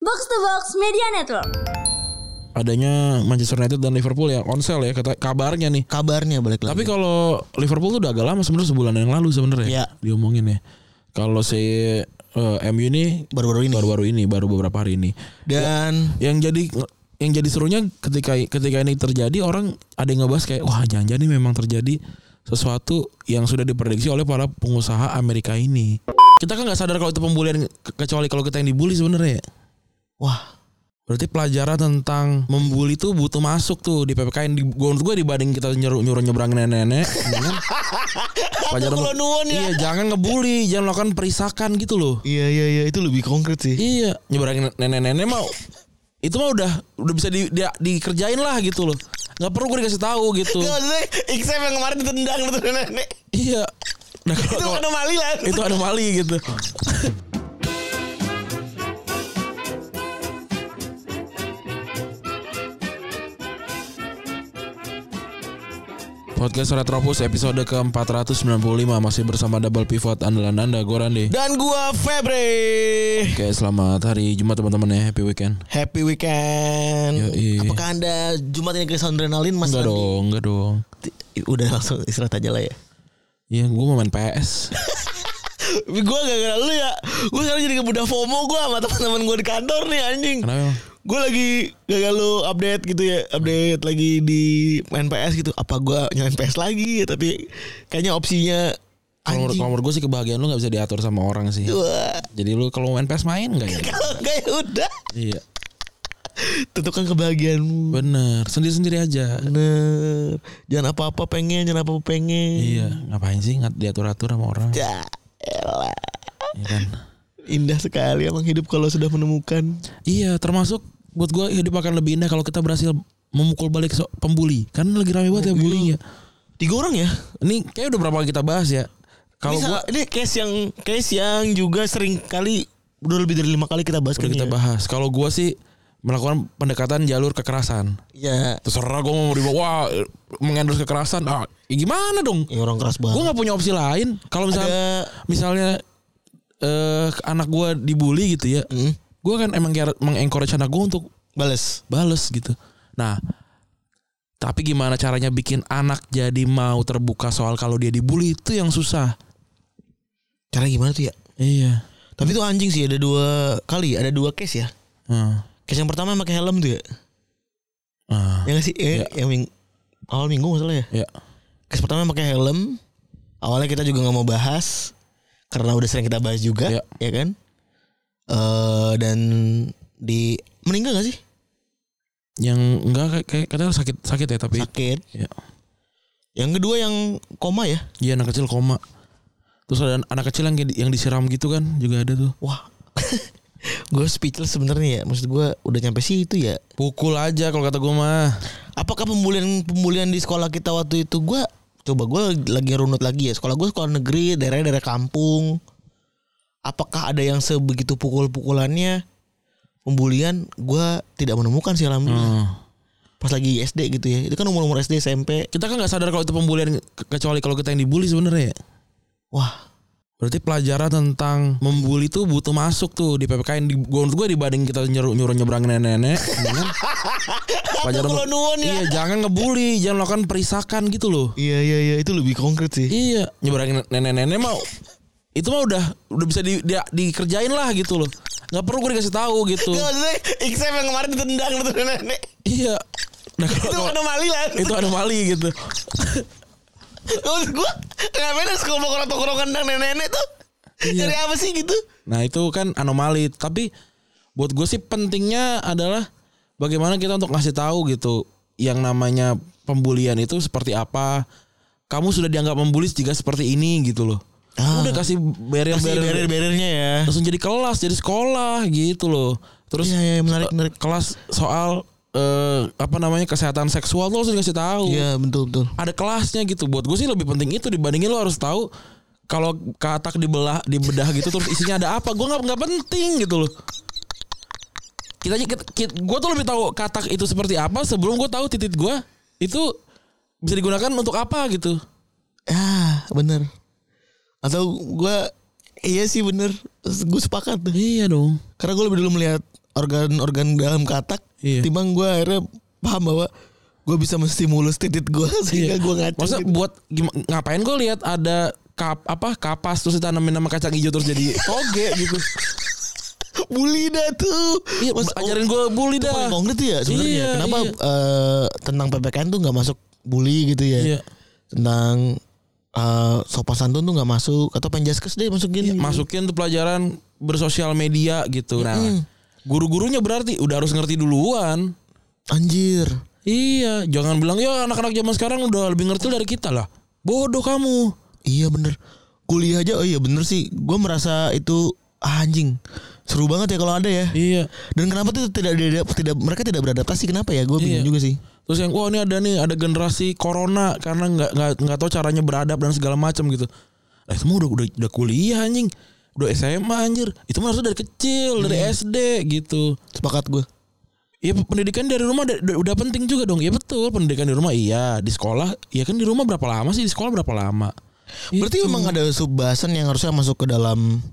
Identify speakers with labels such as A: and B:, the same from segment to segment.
A: Box to Box Media Network.
B: Adanya Manchester United dan Liverpool ya Onsel ya kata kabarnya nih
C: Kabarnya balik
B: Tapi
C: lagi.
B: kalau Liverpool tuh udah agak lama sebenarnya sebulan yang lalu sebenarnya
C: Iya.
B: diomongin ya. Kalau si eh, MU ini
C: baru-baru ini.
B: baru-baru ini baru beberapa hari ini.
C: Dan
B: Yang jadi yang jadi serunya ketika ketika ini terjadi orang ada yang ngebahas kayak wah jangan-jangan ini memang terjadi sesuatu yang sudah diprediksi oleh para pengusaha Amerika ini. Kita kan nggak sadar kalau itu pembulian ke- kecuali kalau kita yang dibully sebenarnya. ya.
C: wah
B: Berarti pelajaran tentang membuli tuh butuh masuk tuh di PPKN di gua menurut gue dibanding kita nyuruh nyuruh nyebrangin nenek-nenek. mendingan pelajaran
C: Aku nuwun ya.
B: Iya, jangan ngebully, jangan melakukan perisakan gitu loh.
C: Iya iya iya itu lebih konkret sih.
B: Iya, nyebrangin nenek-nenek mau itu mah udah udah bisa di, dia- dikerjain lah gitu loh. Nggak perlu gue dikasih tahu gitu.
C: Gak Iya, maksudnya XM yang kemarin ditendang tuh nenek.
B: iya. Nah, kalau-
C: Itu
B: kalau-
C: anomali lah.
B: itu anomali gitu. Podcast Retropus episode ke-495 masih bersama double pivot andalan Anda gue Randy.
C: Dan gua Febre.
B: Oke, selamat hari Jumat teman-teman ya, happy weekend.
C: Happy weekend.
B: Yoi.
C: Apakah anda Jumat ini keris adrenalin Mas?
B: Enggak
C: Andi?
B: dong, enggak dong.
C: Udah langsung istirahat aja lah ya.
B: Iya, gue mau main PS.
C: gue gak gara lu ya. Gue sekarang jadi kebudak FOMO gue sama teman-teman gue di kantor nih anjing.
B: Kenapa emang?
C: Gue lagi gagal lu update gitu ya Update lagi di main PS gitu Apa gue nyalain PS lagi ya Tapi kayaknya opsinya
B: Kalau menurut-
C: Anjing
B: kalau menurut gue sih kebahagiaan lu nggak bisa diatur sama orang sih.
C: Wah.
B: Jadi lu kalau main PS main nggak ya?
C: Kalau enggak ya udah
B: Iya.
C: Tentukan kebahagiaanmu
B: Bener, sendiri-sendiri aja.
C: Bener Jangan apa-apa pengen Jangan apa-apa pengen
B: Iya, ngapain sih ngat diatur-atur sama orang?
C: Ya elah.
B: Iya kan?
C: Indah sekali emang hidup kalau sudah menemukan
B: Iya, termasuk buat gua hidup akan lebih indah kalau kita berhasil memukul balik so- pembuli. Karena lagi rame banget ya bullying ya.
C: Tiga orang ya
B: Ini kayak udah berapa kali kita bahas ya. Kalau
C: ini,
B: gua
C: sa- ini case yang Case yang juga sering kali Udah lebih dari lima kali kita bahas kan ya?
B: udah kita
C: kayaknya.
B: bahas. Kalau gua sih melakukan pendekatan jalur kekerasan.
C: Ya
B: Terserah gua mau dibawa wah eh, mengendorse kekerasan. Ah, ya gimana dong?
C: Ya orang keras banget
B: Gua nggak punya opsi lain. Kalau misalnya
C: Ada-
B: misalnya eh anak gua dibully gitu ya.
C: Hmm,
B: Gua kan emang kayak mengencourage anak gua untuk
C: Bales
B: bales gitu. Nah, tapi gimana caranya bikin anak jadi mau terbuka soal kalau dia dibully itu yang susah.
C: Cara gimana tuh ya
B: Iya.
C: Tapi tuh anjing sih ada dua kali Ada dua case ya
B: Heeh.
C: Case yang pertama yang pakai helm tuh ya
B: Heeh.
C: Ya nggak sih Eh, Yang ming- awal minggu masalah ya
B: nah, ya.
C: Case pertama pakai helm. Awalnya kita juga nggak mau bahas karena udah sering kita bahas juga,
B: Iya.
C: ya kan? Eh dan di meninggal gak sih?
B: Yang enggak kayak, kayak katanya sakit sakit ya tapi
C: Sakit.
B: Iya.
C: Yang kedua yang koma ya.
B: dia anak kecil koma. Terus ada anak kecil yang yang disiram gitu kan juga ada tuh.
C: Wah. gue speechless sebenarnya ya. Maksud gue udah nyampe situ ya.
B: Pukul aja kalau kata gue mah.
C: Apakah pembulian pembulian di sekolah kita waktu itu gue coba gue lagi runut lagi ya. Sekolah gue sekolah negeri, daerah daerah kampung. Apakah ada yang sebegitu pukul-pukulannya? Pembulian gue tidak menemukan sih alhamdulillah.
B: Heeh.
C: pas lagi SD gitu ya itu kan umur umur SD SMP
B: Kita kan nggak sadar kalau itu pembulian ke- kecuali kalau kita yang dibully sebenarnya. ya.
C: wah
B: Berarti pelajaran tentang membuli tuh butuh masuk tuh di PPKN di gua menurut gue dibanding kita nyuruh nyuruh nyebrangin nenek-nenek mendingan pelajaran
C: Aku nuwun ya.
B: Iya, jangan ngebully, jangan melakukan perisakan gitu loh.
C: iya iya iya itu lebih konkret sih
B: Iya, nyebrangin nenek-nenek mah itu mah udah udah bisa di, dia- dikerjain lah gitu loh. Nggak perlu gue dikasih tahu gitu.
C: Gak maksudnya XM yang kemarin ditendang tuh nenek
B: iya. Nah, kalau,
C: itu
B: kalau-
C: anomali lah
B: itu anomali gitu.
C: maksud gue ngapain harus kelompok orang tokrokan tendang nenek nenek tuh
B: Iya.
C: Cari apa sih gitu
B: Nah, itu kan anomali, tapi buat gue sih pentingnya adalah bagaimana kita untuk ngasih tahu gitu yang namanya pembulian itu seperti apa. Kamu sudah dianggap membuli jika seperti ini gitu loh.
C: Ah.
B: Udah kasih barrier-barrier
C: barriernya ya
B: langsung jadi kelas jadi sekolah gitu loh terus
C: Iya, iya, menarik,
B: eh,
C: menarik.
B: kelas soal eh, apa namanya kesehatan seksual tuh langsung dikasih tahu
C: iya betul betul
B: ada kelasnya gitu buat gue sih lebih penting itu dibandingin lo harus tahu kalau katak dibelah dibedah gitu terus isinya ada apa gue nggak nggak penting gitu loh kita, kita, gue tuh lebih tahu katak itu seperti apa sebelum gue tahu titik gue itu bisa digunakan untuk apa gitu
C: ah bener atau gue Iya sih bener. Gue sepakat tuh.
B: Iya dong.
C: Karena gue lebih dulu melihat organ-organ dalam katak.
B: Iya.
C: Timbang gue akhirnya paham bahwa gue bisa menstimulus titik gue sehingga gue
B: Iya.
C: ngaco.
B: Maksudnya
C: gitu.
B: buat gima- ngapain gue lihat ada kap apa kapas terus ditanamin sama kacang hijau terus jadi toge gitu.
C: bully dah tuh.
B: Iya,
C: Mas- oh,
B: ajarin gue bully
C: itu paling
B: dah.
C: konkret tuh ya sebenarnya.
B: Iya,
C: Kenapa
B: iya.
C: eh, tentang PPKN tuh nggak masuk bully gitu ya?
B: Iya.
C: Tentang eh, sopan santun tuh nggak masuk atau penjaskes deh
B: Iya,
C: masukin. gitu.
B: Masukin tuh pelajaran bersosial media gitu. Nah, guru-gurunya berarti udah harus ngerti duluan.
C: Anjir.
B: Iya, jangan bilang ya anak-anak zaman sekarang udah lebih ngerti dari kita lah. Bodoh kamu.
C: Iya bener. Kuliah aja. Oh iya bener sih. Gue merasa itu ah, anjing. Seru banget ya kalau ada ya.
B: Iya.
C: Dan kenapa tuh tidak tidak, tidak mereka tidak beradaptasi? Kenapa ya? Gue bingung
B: Iya.
C: juga sih.
B: Terus yang wah ini ada nih ada generasi corona karena nggak nggak nggak tahu caranya beradab dan segala macam gitu. Eh semua udah udah udah kuliah anjing, udah SMA anjir. Itu mah harusnya dari kecil dari SD gitu.
C: Sepakat gue.
B: Ya pendidikan dari rumah da- da- udah penting juga dong. Ya betul pendidikan di rumah iya di sekolah ya kan di rumah berapa lama sih di sekolah berapa lama?
C: Berarti
B: Itu.
C: memang ada subbahasan yang harusnya masuk ke dalam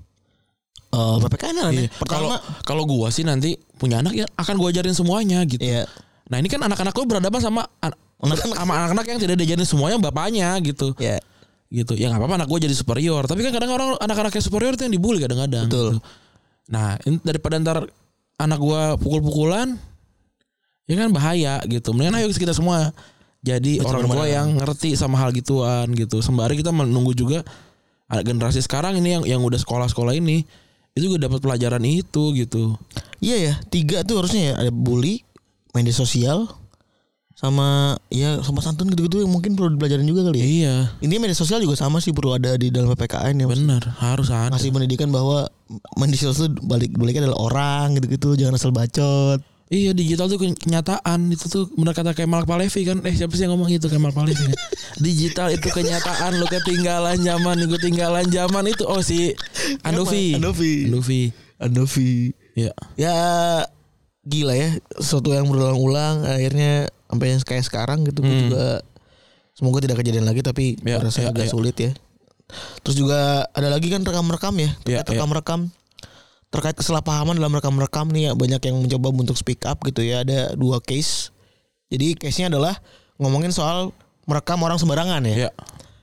C: eh PPKN lah nih.
B: Iya. kalau
C: Pertama,
B: kalau gua sih nanti punya anak ya akan gua ajarin semuanya gitu.
C: iya.
B: Nah ini kan anak-anak gue berhadapan sama an-
C: Anak-anak.
B: sama anak-anak yang tidak diajarin semuanya bapaknya gitu.
C: Iya.
B: gitu ya nggak apa-apa anak gue jadi superior tapi kan kadang orang anak-anak yang superior itu yang dibully kadang-kadang gitu.
C: Betul.
B: nah in- daripada ntar anak gue pukul-pukulan ya kan bahaya gitu mendingan ayo kita semua jadi
C: Betul,
B: orang tua
C: benar.
B: yang ngerti sama hal gituan gitu sembari kita menunggu juga anak generasi sekarang ini yang yang udah sekolah-sekolah ini itu juga dapat pelajaran itu gitu
C: Iya ya, tiga tuh harusnya ya ada bully, media sosial, sama ya sopan santun gitu-gitu yang mungkin perlu dipelajarin juga kali ya.
B: iya
C: Ini media sosial juga sama sih perlu ada di dalam PPKN ya.
B: bener Iya, harus ada
C: Masih pendidikan bahwa media sosial tuh balik baliknya adalah orang gitu-gitu, jangan asal bacot.
B: Iya digital tuh ken- kenyataan itu tuh benar kata Kemal Palevi kan eh siapa sih yang ngomong itu Kemal Palevi kan? digital itu kenyataan lo ketinggalan zaman lo ketinggalan zaman itu oh si Andovi
C: Kemal, Andovi.
B: Andovi
C: Andovi.
B: ya
C: Ya gila ya, sesuatu yang berulang-ulang akhirnya sampai yang kayak sekarang gitu gua juga semoga tidak kejadian lagi tapi
B: Hmm. Ya, ya,
C: rasanya agak
B: ya.
C: sulit ya. Terus juga ada lagi kan rekam-rekam ya, terkait
B: Ya, ya.
C: rekam-rekam terkait kesalahpahaman dalam rekam-rekam nih ya banyak yang mencoba untuk speak up gitu ya ada dua case. Jadi case-nya adalah ngomongin soal merekam orang sembarangan ya
B: ya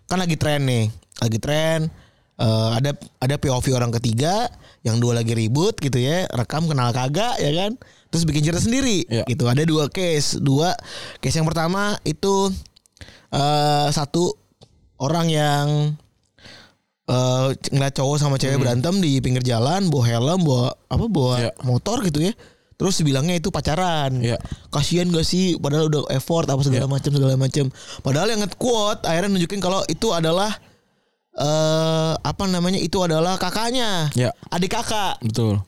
C: kan lagi tren nih lagi tren Eh, ada ada POV orang ketiga yang dua lagi ribut gitu ya rekam kenal kagak ya kan terus bikin cerita sendiri
B: Iya.
C: gitu ada dua case dua case yang pertama itu eh satu orang yang eh ngeliat cowok sama cewek berantem di pinggir jalan bawa helm bawa apa bawa
B: Hmm. Iya.
C: motor gitu ya terus bilangnya itu pacaran
B: Iya.
C: kasihan gak sih padahal udah effort apa segala macam segala macam padahal yang nge-quote akhirnya nunjukin kalau itu adalah eh apa namanya itu adalah kakaknya
B: Iya.
C: adik kakak
B: betul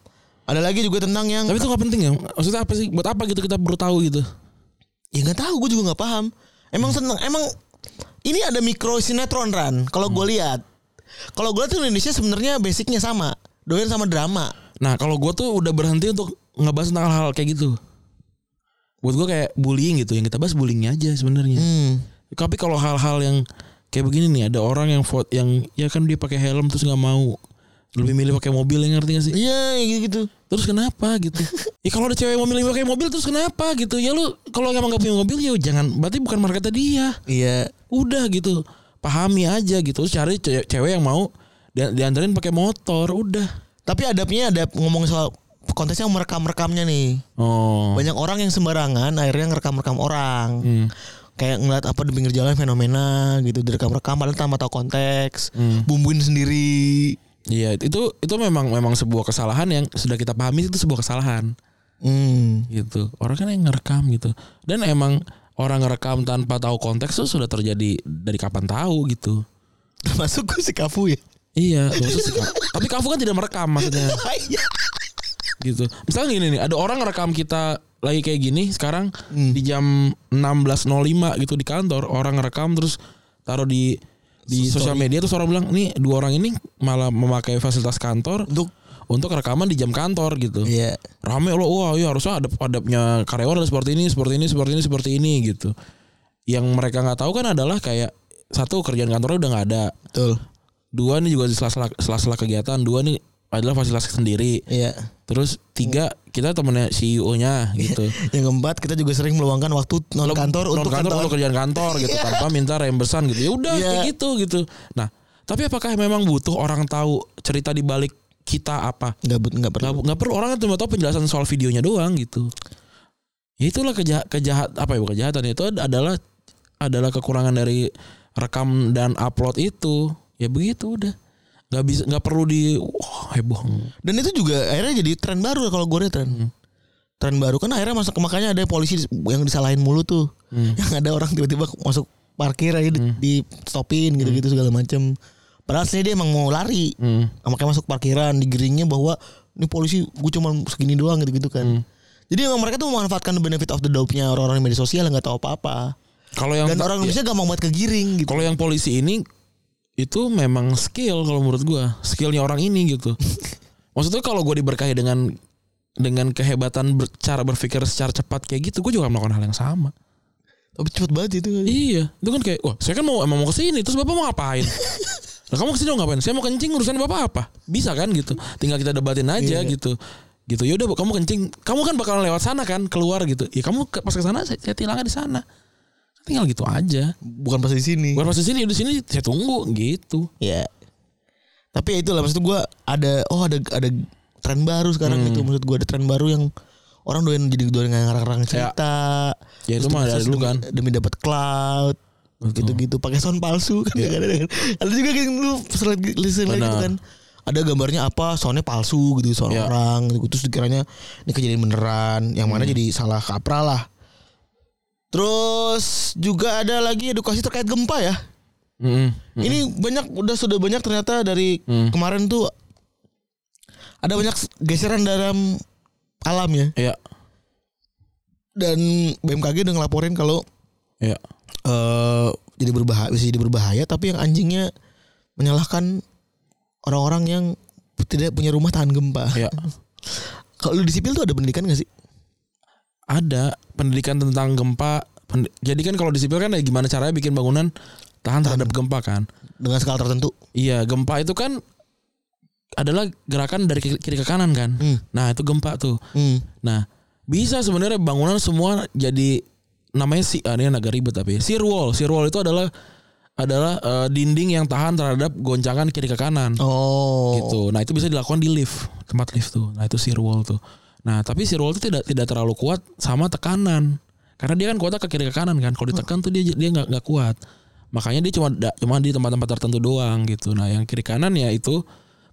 C: ada lagi juga tentang yang
B: tapi itu nggak penting ya maksudnya apa sih buat apa gitu kita perlu tahu gitu
C: ya nggak tahu gue juga nggak paham emang seneng emang ini ada mikro sinetron ran kalau
B: Hmm.
C: gue lihat kalau gue lihat tuh Indonesia sebenarnya basicnya sama doyan sama drama
B: nah kalau gue tuh udah berhenti untuk ngebahas tentang hal-hal kayak gitu buat gue kayak bullying gitu yang kita bahas bullyingnya aja sebenarnya
C: hmm.
B: Tapi kalau hal-hal yang kayak begini nih ada orang yang vote yang ya kan dia pakai helm terus nggak mau lebih milih pakai mobil yang ngerti gak sih?
C: iya gitu gitu
B: Terus kenapa gitu? ya kalau ada cewek yang mau milih pakai mobil terus kenapa gitu? Ya lu kalau emang nggak punya mobil ya jangan berarti bukan marketnya dia.
C: iya
B: Udah gitu. Pahami aja gitu. Terus cari ce- cewek yang mau dia- dianterin pakai motor udah.
C: tapi adabnya ada ngomong soal konteksnya merekam rekamnya nih
B: Oh.
C: banyak orang yang sembarangan akhirnya ngerekam-rekam orang
B: Hmm.
C: kayak ngeliat apa di pinggir jalan fenomena gitu direkam-rekam padahal tanpa tahu konteks
B: Hmm.
C: bumbuin sendiri
B: Iya, itu itu memang memang sebuah kesalahan yang sudah kita pahami itu sebuah kesalahan.
C: hmm.
B: gitu orang kan yang ngerekam gitu dan emang orang ngerekam tanpa tahu konteks tuh sudah terjadi dari kapan tahu gitu
C: termasuk gue si kafu ya
B: iya maksud sih, Kak. tapi kamu kan tidak merekam maksudnya
C: Oh, iya.
B: gitu misalnya gini nih ada orang ngerekam kita lagi kayak gini sekarang di jam 16.05 gitu di kantor orang ngerekam terus taruh di di sosial media terus orang bilang nih dua orang ini malah memakai fasilitas kantor
C: untuk
B: untuk rekaman di jam kantor gitu
C: Iya.
B: rame loh wah ya harusnya ada adabnya karyawan harus seperti ini seperti ini seperti ini seperti ini gitu yang mereka nggak tahu kan adalah kayak satu kerjaan kantornya udah nggak ada
C: Betul.
B: Dua nih juga di sela-sela sela-sela kegiatan. Dua nih adalah fasilitas sendiri.
C: Iya.
B: Terus tiga kita temennya CEO-nya gitu.
C: Yang keempat kita juga sering meluangkan waktu non kantor
B: Non
C: untuk kantor.
B: untuk kerjaan kantor gitu tanpa minta reimbursan gitu. Ya udah
C: Iya.
B: kayak gitu gitu. Nah, tapi apakah memang butuh orang tahu cerita di balik kita apa?
C: Nggak but- nggak perlu.
B: Nggak, nggak perlu orang kan cuma tahu penjelasan soal videonya doang gitu. Ya itulah kejahat, kejahat apa ya bukan kejahatan itu ad- adalah adalah kekurangan dari rekam dan upload itu. Ya begitu udah. Nggak bisa nggak perlu di wah heboh.
C: Dan itu juga akhirnya jadi tren baru ya kalau gue lihat tren. Tren baru kan akhirnya masuk makanya ada polisi yang disalahin mulu tuh. Yang ada orang tiba-tiba masuk parkir aja di, di stopin gitu-gitu segala macem. Padahal sebenarnya dia emang mau lari. Makanya masuk parkiran digiringnya bahwa ini polisi gue cuma segini doang gitu-gitu kan. Jadi emang mereka tuh memanfaatkan benefit of the doubt-nya orang-orang di media sosial yang nggak tahu apa-apa.
B: Kalau yang ya,
C: Dan orang Indonesia gampang banget kegiring gitu.
B: Kalau yang polisi ini itu memang skill kalau menurut gua, skillnya orang ini gitu. Maksudnya kalau gua diberkahi dengan dengan kehebatan ber- cara berpikir secara cepat kayak gitu, gua juga akan melakukan hal yang sama.
C: Tapi cepet banget itu.
B: Iya, itu kan kayak, wah saya kan mau emang mau kesini, terus bapak mau ngapain? Nah kamu kesini mau ngapain? Saya mau kencing urusan bapak apa? Bisa kan gitu, tinggal kita debatin aja
C: Iya.
B: gitu. Gitu, yaudah Bu, kamu kencing, kamu kan bakalan lewat sana kan, keluar gitu. Ya kamu ke- pas ke sana, saya, saya tilangnya di sana. Tinggal gitu aja.
C: Bukan pas di sini.
B: Bukan pas di sini, di sini saya tunggu gitu.
C: Ya. Tapi ya itulah maksud gua ada oh ada ada tren baru sekarang
B: Hmm.
C: gitu maksud gua ada tren baru yang orang doyan jadi doyan ngarang-ngarang cerita.
B: Ya, itu
C: Terus
B: mah dari
C: demi-
B: dulu kan.
C: Demi dapat cloud gitu-gitu pakai sound palsu kan kadang-kadang. ada juga kan lu sering listen lagi gitu
B: Ya. Benar.
C: kan ada gambarnya apa soundnya palsu gitu sound
B: Ya. Hmm.
C: orang gitu. terus dikiranya ini kejadian beneran yang mana jadi salah kaprah lah terus juga ada lagi edukasi terkait gempa ya
B: Mm-mm.
C: ini banyak udah sudah banyak ternyata dari kemarin tuh ada banyak geseran dalam alam ya
B: Iya,
C: dan BMKG udah ngelaporin kalau
B: iya.
C: eh jadi berbahaya bisa jadi berbahaya tapi yang anjingnya menyalahkan orang-orang yang tidak punya rumah tahan gempa.
B: Iya.
C: Kalau di sipil tuh ada pendidikan gak sih?
B: Ada pendidikan tentang gempa. Pendi- Jadi kan kalau di sipil kan ya gimana caranya bikin bangunan tahan terhadap gempa kan.
C: Dengan skala tertentu.
B: Iya, gempa itu kan adalah gerakan dari kiri kiri ke kanan kan.
C: Hmm.
B: Nah, itu gempa tuh.
C: Hmm.
B: Nah, bisa sebenarnya bangunan semua jadi namanya si ah, ini agak ribet tapi shear wall. Shear wall itu adalah adalah eh, dinding yang tahan terhadap goncangan kiri ke kanan.
C: Oh.
B: gitu. Nah itu bisa dilakukan di lift, tempat lift tuh. Nah itu shear wall tuh. Nah tapi shear wall itu tidak tidak terlalu kuat sama tekanan, karena dia kan kuatnya ke kiri ke kanan kan. Kalau ditekan tuh dia dia nggak nggak kuat. Makanya dia cuma da- cuma di tempat-tempat tertentu doang gitu. Nah yang kiri kanan ya itu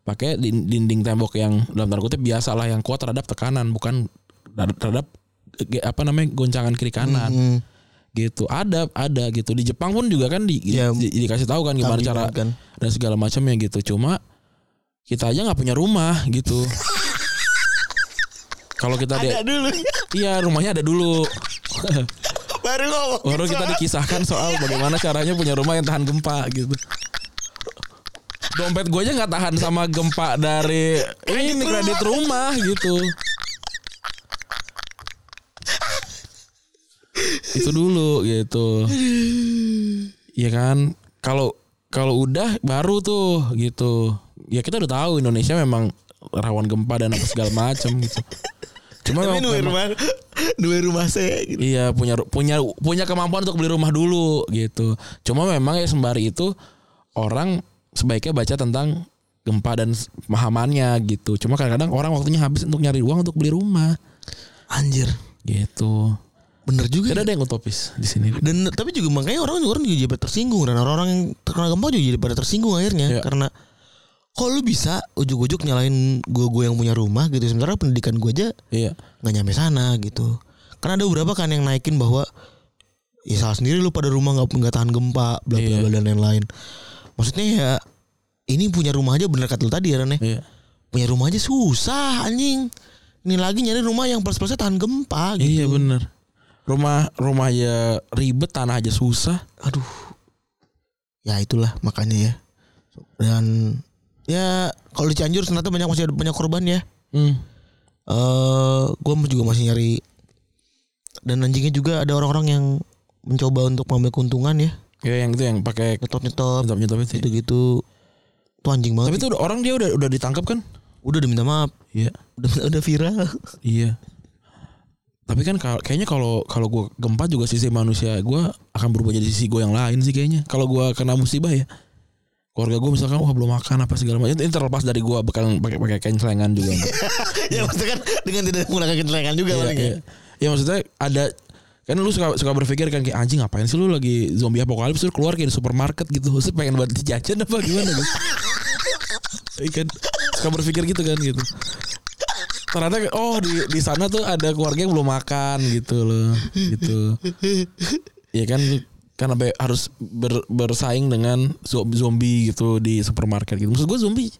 B: pakai din- dinding tembok yang dalam tanda kutip biasalah yang kuat terhadap tekanan, bukan terhadap, terhadap eh, apa namanya goncangan kiri kanan
C: Hmm.
B: gitu ada ada gitu di Jepang pun juga kan di,
C: Ya,
B: di- dikasih tahu kan gimana
C: tampil
B: cara
C: banget kan.
B: dan segala macamnya gitu cuma kita aja nggak punya rumah gitu kalau kita
C: Ada
B: ada
C: Ya dulu.
B: iya rumahnya ada dulu
C: Baru ngomong.
B: baru Oh, kita dikisahkan soal bagaimana caranya punya rumah yang tahan gempa gitu dompet gue aja nggak tahan sama gempa dari ini kredit rumah gitu itu dulu gitu Iya kan kalau kalau udah baru tuh gitu ya kita udah tahu Indonesia memang rawan gempa dan apa segala macam gitu cuma
C: Tapi
B: memang-
C: dua
B: memang-
C: rumah, dua rumah saya gitu.
B: Iya punya punya punya kemampuan untuk beli rumah dulu gitu. Cuma memang ya sembari itu orang sebaiknya baca tentang gempa dan s- pemahamannya gitu. Cuma kadang-kadang orang waktunya habis untuk nyari uang untuk beli rumah
C: Anjir.
B: gitu.
C: Bener juga.
B: Tidak ada yang utopis di sini.
C: dan tapi juga makanya orang orang juga jadi pada tersinggung dan orang-orang yang terkena gempa juga jadi pada tersinggung
B: Iya.
C: akhirnya karena kok lu bisa ujuk-ujuk nyalain gua gua yang punya rumah gitu sementara pendidikan gua aja
B: Iya.
C: nggak nyampe sana gitu karena ada beberapa kan yang naikin bahwa ya salah sendiri lu pada rumah nggak nggak tahan gempa bla bla
B: Iya.
C: bla dan lain-lain maksudnya ya ini punya rumah aja bener kata lu tadi ya Ren, ya
B: Iya.
C: punya rumah aja susah anjing ini lagi nyari rumah yang plus-plusnya tahan gempa gitu
B: Iya bener Rumah rumah aja ribet, tanah aja susah.
C: aduh ya itulah makanya ya dan ya kalau di Cianjur ternyata banyak masih ada banyak korban ya
B: Hmm.
C: eh gue juga masih nyari dan anjingnya juga ada orang-orang yang mencoba untuk mengambil keuntungan ya
B: Ya yang itu yang pakai
C: nyetop nyetop
B: nyetop-nyetop itu.
C: gitu gitu Tuh anjing banget.
B: Tapi tuh orang dia udah udah ditangkap kan?
C: udah udah minta maaf.
B: Iya.
C: Udah udah viral.
B: Iya. Tapi kan kal- kayaknya kalau kalau gua gempa juga sisi manusia gua akan berubah jadi sisi gua yang lain sih kayaknya. Kalau gua kena musibah ya. Keluarga gua misalkan wah belum makan apa segala macam. Ini terlepas dari gua bakal pakai pakai kain celengan juga.
C: ya maksudnya kan dengan tidak menggunakan kecelakaan juga
B: Iya,
C: paling ya.
B: iya. Ya maksudnya ada kan lu suka suka berpikir kan kayak anjing ngapain sih lu lagi zombie apokalips lu keluar kayak di supermarket gitu. Lu pengen buat jajan apa gimana gitu. Iya kan suka berpikir gitu kan gitu. Ternyata oh di di sana tuh ada keluarga yang belum makan gitu loh gitu. Iya kan kan sampai harus ber- bersaing dengan zo- zombie gitu di supermarket gitu. Maksud gue zombie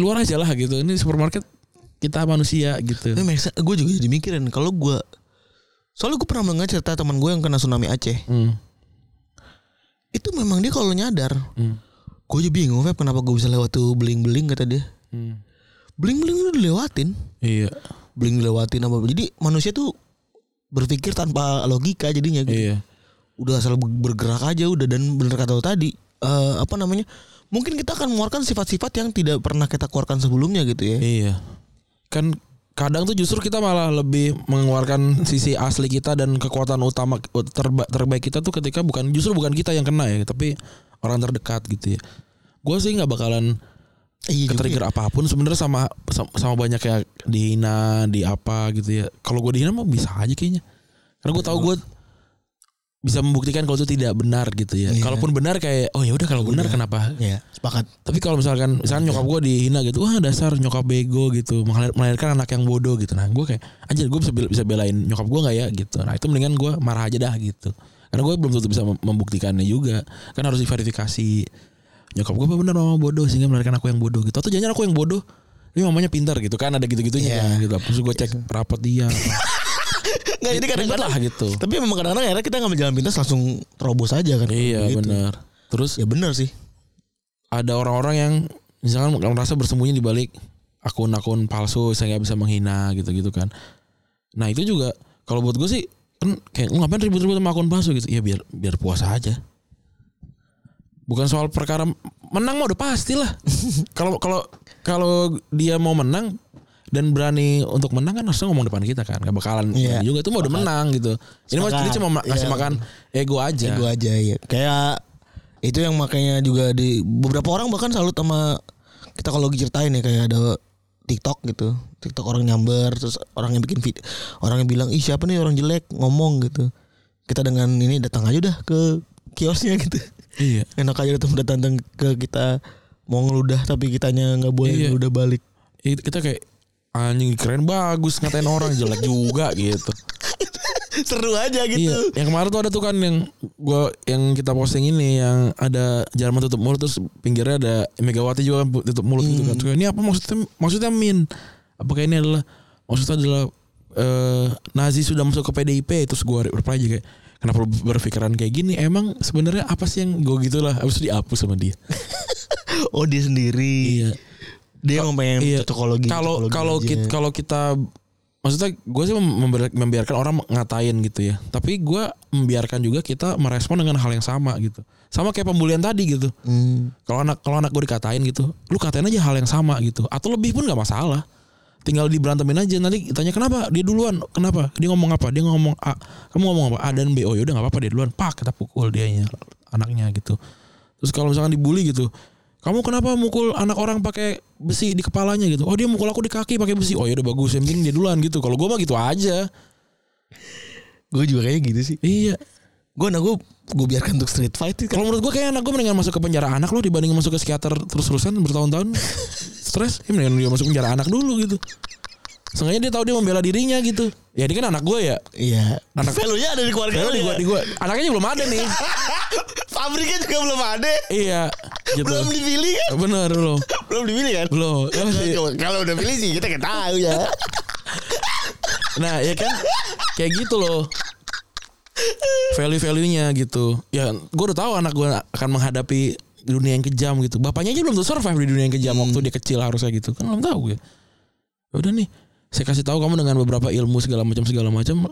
B: luar aja lah gitu. Ini supermarket kita manusia gitu.
C: Tapi makes sense. gue juga jadi mikirin kalau gue soalnya gue pernah mendengar cerita teman gue yang kena tsunami Aceh
B: Hmm.
C: itu memang dia kalau nyadar
B: Hmm.
C: gue aja bingung Feb kenapa gue bisa lewat tuh beling-beling kata dia
B: Hmm.
C: beling-beling udah dilewatin
B: Iya,
C: beling dilewatin apa jadi manusia tuh berpikir tanpa logika jadinya gitu.
B: iya.
C: udah asal bergerak aja udah dan bener kata lo tadi eh, apa namanya mungkin kita akan mengeluarkan sifat-sifat yang tidak pernah kita keluarkan sebelumnya gitu ya
B: Iya. Kan kadang tuh justru kita malah lebih mengeluarkan sisi asli kita dan kekuatan utama terba- terbaik kita tuh ketika bukan justru bukan kita yang kena ya, tapi orang terdekat gitu ya. Gue sih nggak bakalan
C: iya juga ya.
B: ketrigger apapun sebenarnya sama sama sama banyak ya dihina, di apa gitu ya. Kalau gue dihina mah bisa aja kayaknya. Karena gue tahu gue bisa membuktikan kalau itu tidak benar gitu ya.
C: Iya.
B: Kalaupun benar kayak oh ya udah kalau benar kenapa
C: ya sepakat
B: Tapi kalau misalkan misalkan nyokap gue dihina gitu, wah dasar nyokap bego gitu, melahir- melahirkan anak yang bodoh gitu. Nah gue kayak anjir gue bisa bel- bisa belain nyokap gue nggak ya gitu. Nah itu mendingan gue marah aja dah gitu. Karena gue belum tentu bisa mem- membuktikannya juga. Kan harus diverifikasi nyokap gue apa bener mama bodoh sehingga melahirkan aku yang bodoh gitu. Atau jangan aku yang bodoh, ini mamanya pintar gitu kan ada gitu-gitunya
C: Iya.
B: kan, gitu. Terus gue cek rapat dia.
C: nggak jadi
B: Ribet
C: kadang-kadang
B: lah gitu.
C: tapi memang kadang-kadang akhirnya kita ngambil jalan pintas langsung terobos aja kan
B: Iya
C: Gitu.
B: benar. Terus
C: ya benar sih
B: ada orang-orang yang misalkan merasa bersembunyi di balik akun-akun palsu saya nggak bisa menghina gitu-gitu kan. Nah itu juga kalau buat gue sih kan kayak "Lu ngapain ribut-ribut sama akun palsu gitu. Ya biar biar puasa aja. Bukan soal perkara menang mah udah pastilah. Kalau kalau kalau dia mau menang dan berani untuk menang kan harusnya ngomong depan kita kan. Gak bakalan
C: Iya.
B: berani juga itu mau udah menang gitu. Ini mah
C: Sepakat.
B: ini cuma ma- ngasih
C: Iya.
B: makan ego aja.
C: gue aja ya kayak itu yang makanya juga di beberapa orang bahkan salut sama kita kalau ceritain ya kayak ada TikTok gitu TikTok orang nyamber terus orang yang bikin video orang yang bilang ih siapa nih orang jelek ngomong gitu kita dengan ini datang aja udah ke kiosnya gitu
B: Iya.
C: enak aja datang datang ke kita mau ngeludah tapi kitanya nggak boleh
B: Iya.
C: ngeludah balik
B: It- Iya, kita kayak anjing keren bagus ngatain orang jelek juga gitu.
C: seru aja gitu
B: Iya. Yang kemarin tuh ada tuh kan yang gua yang kita posting ini yang ada Jerman tutup mulut terus pinggirnya ada Megawati juga kan tutup mulut gitu kan. Terus kayak, Ini apa maksudnya? Maksudnya min? Apakah ini adalah maksudnya adalah eh, Nazi sudah masuk ke PDIP terus gua reply aja kayak kenapa lu berpikiran kayak gini? Emang sebenarnya apa sih yang gue gitulah habis itu dihapus sama dia.
C: oh dia sendiri
B: Iya.
C: dia yang pengen
B: Iya.
C: cocokologi
B: Kalau
C: cocokologi
B: kalau
C: gitu, aja.
B: kita kalau kita maksudnya gue sih mem- membiar- membiarkan orang ngatain gitu ya. Tapi gue membiarkan juga kita merespon dengan hal yang sama gitu. Sama kayak pembulian tadi gitu.
C: Hmm.
B: Kalau anak kalau anak gue dikatain gitu, lu katain aja hal yang sama gitu. Atau lebih pun nggak masalah. Tinggal diberantemin aja nanti tanya kenapa dia duluan kenapa dia ngomong apa dia ngomong a kamu ngomong apa a dan b oh yaudah nggak apa-apa dia duluan pak kita pukul dianya anaknya gitu terus kalau misalkan dibully gitu kamu kenapa mukul anak orang pakai besi di kepalanya gitu oh dia mukul aku di kaki pakai besi oh yaudah bagus yang penting dia duluan gitu kalau gue mah gitu aja
C: gue juga kayak gitu sih
B: iya
C: gue nah gue gue biarkan untuk street fight sih.
B: kalau menurut gue kayak anak gue mendingan masuk ke penjara anak lo dibanding masuk ke psikiater terus-terusan bertahun-tahun stres ya mendingan dia masuk penjara anak dulu gitu Seenggaknya dia tahu dia membela dirinya gitu ya dia kan anak gue ya
C: iya
B: Anak-
C: value nya ada di keluarga
B: Padahal
C: lu
B: di
C: ya.
B: gua, di gua, anaknya belum ada nih
C: pabriknya juga belum ada
B: iya gitu
C: belum dipilih kan
B: bener lo
C: belum dipilih kan
B: belum
C: Kalau- kalau udah pilih sih kita nggak tahu ya
B: Nah ya kan Kayak gitu loh Value-valuenya gitu Ya gue udah tahu anak gue akan menghadapi Dunia yang kejam gitu Bapaknya aja belum tuh survive di dunia yang kejam Waktu dia kecil harusnya gitu Kan belum tahu gue Ya udah nih Saya kasih tahu kamu dengan beberapa ilmu segala macam segala macam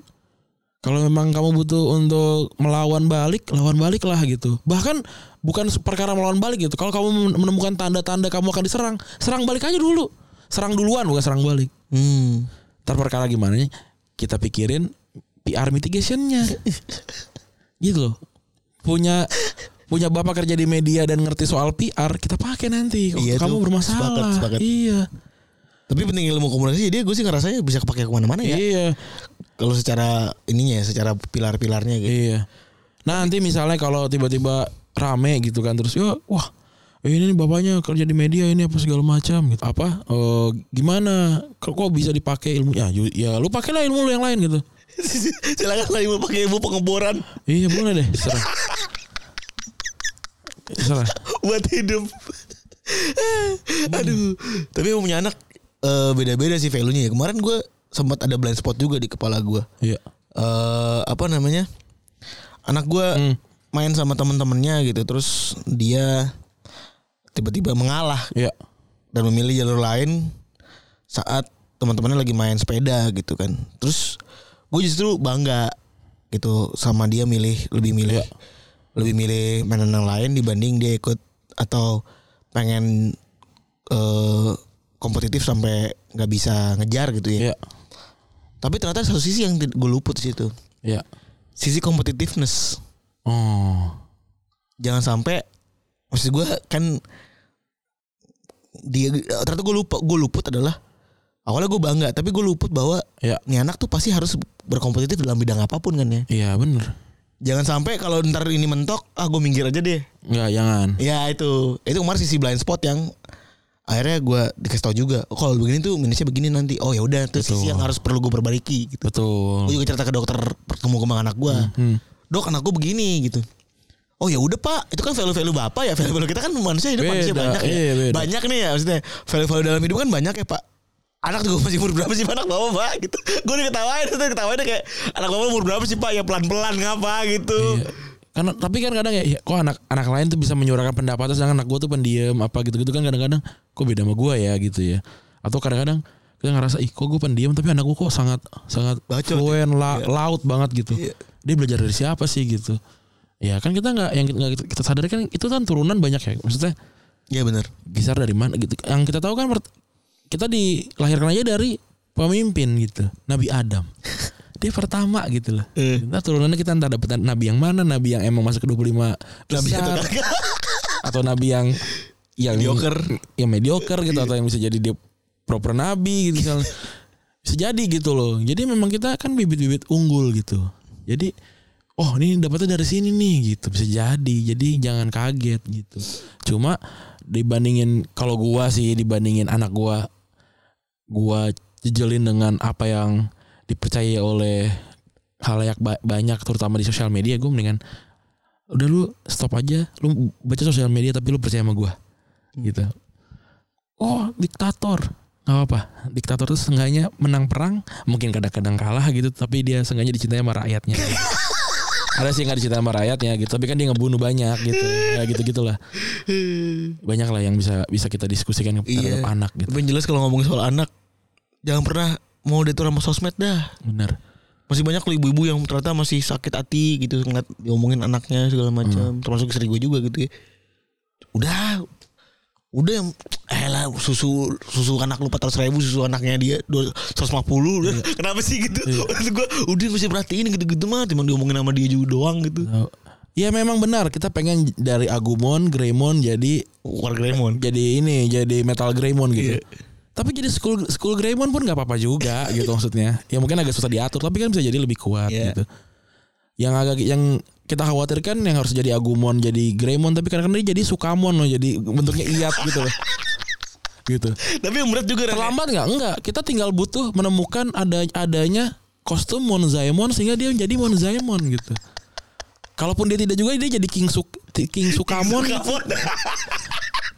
B: Kalau memang kamu butuh untuk melawan balik, lawan balik lah gitu. Bahkan bukan perkara melawan balik gitu. Kalau kamu men- menemukan tanda-tanda kamu akan diserang, serang balik aja dulu. Serang duluan bukan serang balik.
C: Hmm.
B: Ntar perkara gimana nya, kita pikirin PR mitigationnya. gitu loh. Punya punya bapak kerja di media dan ngerti soal PR, kita pakai nanti. Kalau
C: Iya,
B: kamu
C: tuh.
B: bermasalah.
C: Sepakat, sepakat.
B: Iya.
C: Tapi penting ilmu komunikasi dia gue sih ngerasanya bisa kepake kemana-mana ya.
B: Iya.
C: Kalau secara ininya ya, secara pilar-pilarnya gitu.
B: Iya. Nah nanti misalnya kalau tiba-tiba rame gitu kan terus ya wah ini nih bapaknya kerja di media ini apa segala macam gitu apa eh, gimana kok kok bisa dipakai ilmunya ya, ya lu pakailah ilmu lu yang lain gitu
C: Silakan lah ibu pakai ibu pengeboran
B: iya boleh deh serah serah
C: buat hidup. Aduh, Hmm. tapi emang punya anak eh, beda-beda sih value-nya ya. Kemarin gue sempat ada blind spot juga di kepala gue.
B: iya
C: eh apa namanya anak gue
B: Hmm.
C: main sama temen-temennya gitu terus dia tiba-tiba mengalah
B: iya
C: dan memilih jalur lain saat teman-temannya lagi main sepeda gitu kan terus gue justru bangga gitu sama dia milih lebih milih
B: Iya.
C: lebih milih mainan yang lain dibanding dia ikut atau pengen eh kompetitif sampai nggak bisa ngejar gitu ya
B: iya
C: tapi ternyata satu sisi yang gue luput di situ
B: iya
C: sisi competitiveness
B: oh
C: jangan sampai maksud gue kan dia ternyata gue lupa gue luput adalah awalnya gue bangga tapi gue luput bahwa
B: iya
C: nih anak tuh pasti harus berkompetitif dalam bidang apapun kan ya
B: iya bener
C: jangan sampai kalau ntar ini mentok ah gue minggir aja deh
B: nggak jangan
C: ya itu itu kemarin sisi blind spot yang akhirnya gue dikasih tau juga oh, kalau begini tuh minusnya begini nanti oh ya udah itu sisi
B: Betul.
C: yang harus perlu gue perbaiki gitu
B: betul
C: gue juga cerita ke dokter pertemu kembang anak gue
B: hmm.
C: dok anak gue begini gitu oh ya udah pak itu kan value value bapak ya value value kita kan manusia hidup
B: Beda,
C: manusia banyak ya
B: iya, beda.
C: banyak nih ya maksudnya value value dalam hidup kan banyak ya pak anak juga masih umur berapa sih Pak? anak bapak pak gitu gue udah ketawain itu ketawain kayak anak bapak umur berapa sih pak ya pelan pelan ngapa gitu
B: Iya. Karena tapi kan kadang ya, ya, kok anak anak lain tuh bisa menyuarakan pendapatnya sedangkan anak gue tuh pendiam apa gitu-gitu kan kadang-kadang kok beda sama gue ya gitu ya. Atau kadang-kadang kita ngerasa ih kok gue pendiam tapi anak gue kok sangat sangat
C: Bacot, ya."
B: fluent la- laut banget gitu.
C: Iya.
B: Dia belajar dari siapa sih gitu. Ya kan kita nggak yang nggak kita- kita sadari kan itu kan turunan banyak ya. Maksudnya
C: iya benar
B: Gisar dari mana gitu. Yang kita tahu kan pert- kita dilahirkan aja dari pemimpin gitu. Nabi Adam. Dia pertama gitu loh.
C: Eh.
B: Nah turunannya kita entah dapat nabi yang mana, nabi yang emang masuk ke 25
C: nabi
B: besar,
C: atau
B: atau,
C: kagak
B: nabi yang yang
C: Mediocre.
B: yang mediocre gitu atau yang bisa jadi dia proper nabi gitu misalnya. bisa jadi gitu loh. Jadi memang kita kan bibit-bibit unggul gitu. Jadi oh ini dapatnya dari sini nih gitu bisa jadi. Jadi jangan kaget gitu. Cuma dibandingin kalau gua sih dibandingin anak gua gua jejelin dengan apa yang dipercaya oleh halayak ba- banyak terutama di sosial media gue mendingan udah lu stop aja lu baca sosial media tapi lu percaya sama gua gitu oh diktator nggak apa-apa diktator tuh seenggaknya menang perang mungkin kadang-kadang kalah gitu tapi dia seenggaknya dicintai sama rakyatnya ada sih yang nggak dicintai sama rakyatnya gitu tapi kan dia ngebunuh banyak gitu ya gitu gitulah banyak lah yang bisa bisa kita diskusikan terhadap
C: Iya.
B: anak gitu
C: tapi yang jelas kalau ngomongin soal anak jangan pernah mau detur sama sosmed dah
B: benar
C: masih banyak loh ibu-ibu yang ternyata masih sakit hati gitu ngeliat diomongin anaknya segala macam termasuk istri gue juga gitu ya udah udah yang eh lah susu susu anak lu 400 ribu susu anaknya dia dua- 150 udah kenapa sih gitu Maksud gua, udah gak usah perhatiin gitu-gitu mah cuma diomongin sama dia juga doang gitu
B: Oh. Ya memang benar kita pengen dari Agumon, Greymon jadi
C: warga Raymond
B: jadi ini jadi Metal Greymon gitu. Tapi jadi school school Greymon pun nggak apa-apa juga gitu maksudnya. Ya mungkin agak susah diatur tapi kan bisa jadi lebih kuat
C: Iya.
B: gitu. Yang agak yang kita khawatirkan yang harus jadi Agumon jadi Greymon tapi kadang-kadang dia jadi Sukamon loh jadi bentuknya iat gitu loh. Gitu.
C: tapi yang berat juga Ren.
B: Terlambat nggak? Enggak. Kita tinggal butuh menemukan ada adanya kostum Monzaemon sehingga dia menjadi Monzaemon gitu. Kalaupun dia tidak juga dia jadi King Suk King Sukamon.
C: Kapon.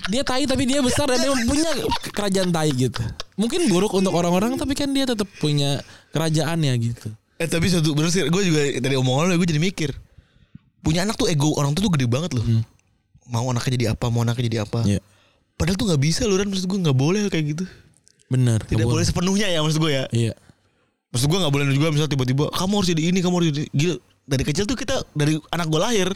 B: Dia tai tapi dia besar dan dia punya kerajaan tai gitu. Mungkin buruk untuk orang-orang tapi kan dia tetap punya kerajaannya gitu.
C: eh tapi satu bener sih gue juga tadi omongan lu gue jadi mikir punya anak tuh ego orang tuh tuh gede banget loh mau anaknya jadi apa mau anaknya jadi apa
B: Iya.
C: Padahal tuh nggak bisa loh Ran Maksud gue nggak boleh kayak gitu
B: Benar.
C: Tidak boleh sepenuhnya ya maksud gue ya
B: Iya.
C: Maksud gue gak boleh juga misalnya tiba-tiba Kamu harus jadi ini, kamu harus jadi Gila, dari kecil tuh kita Dari anak gue lahir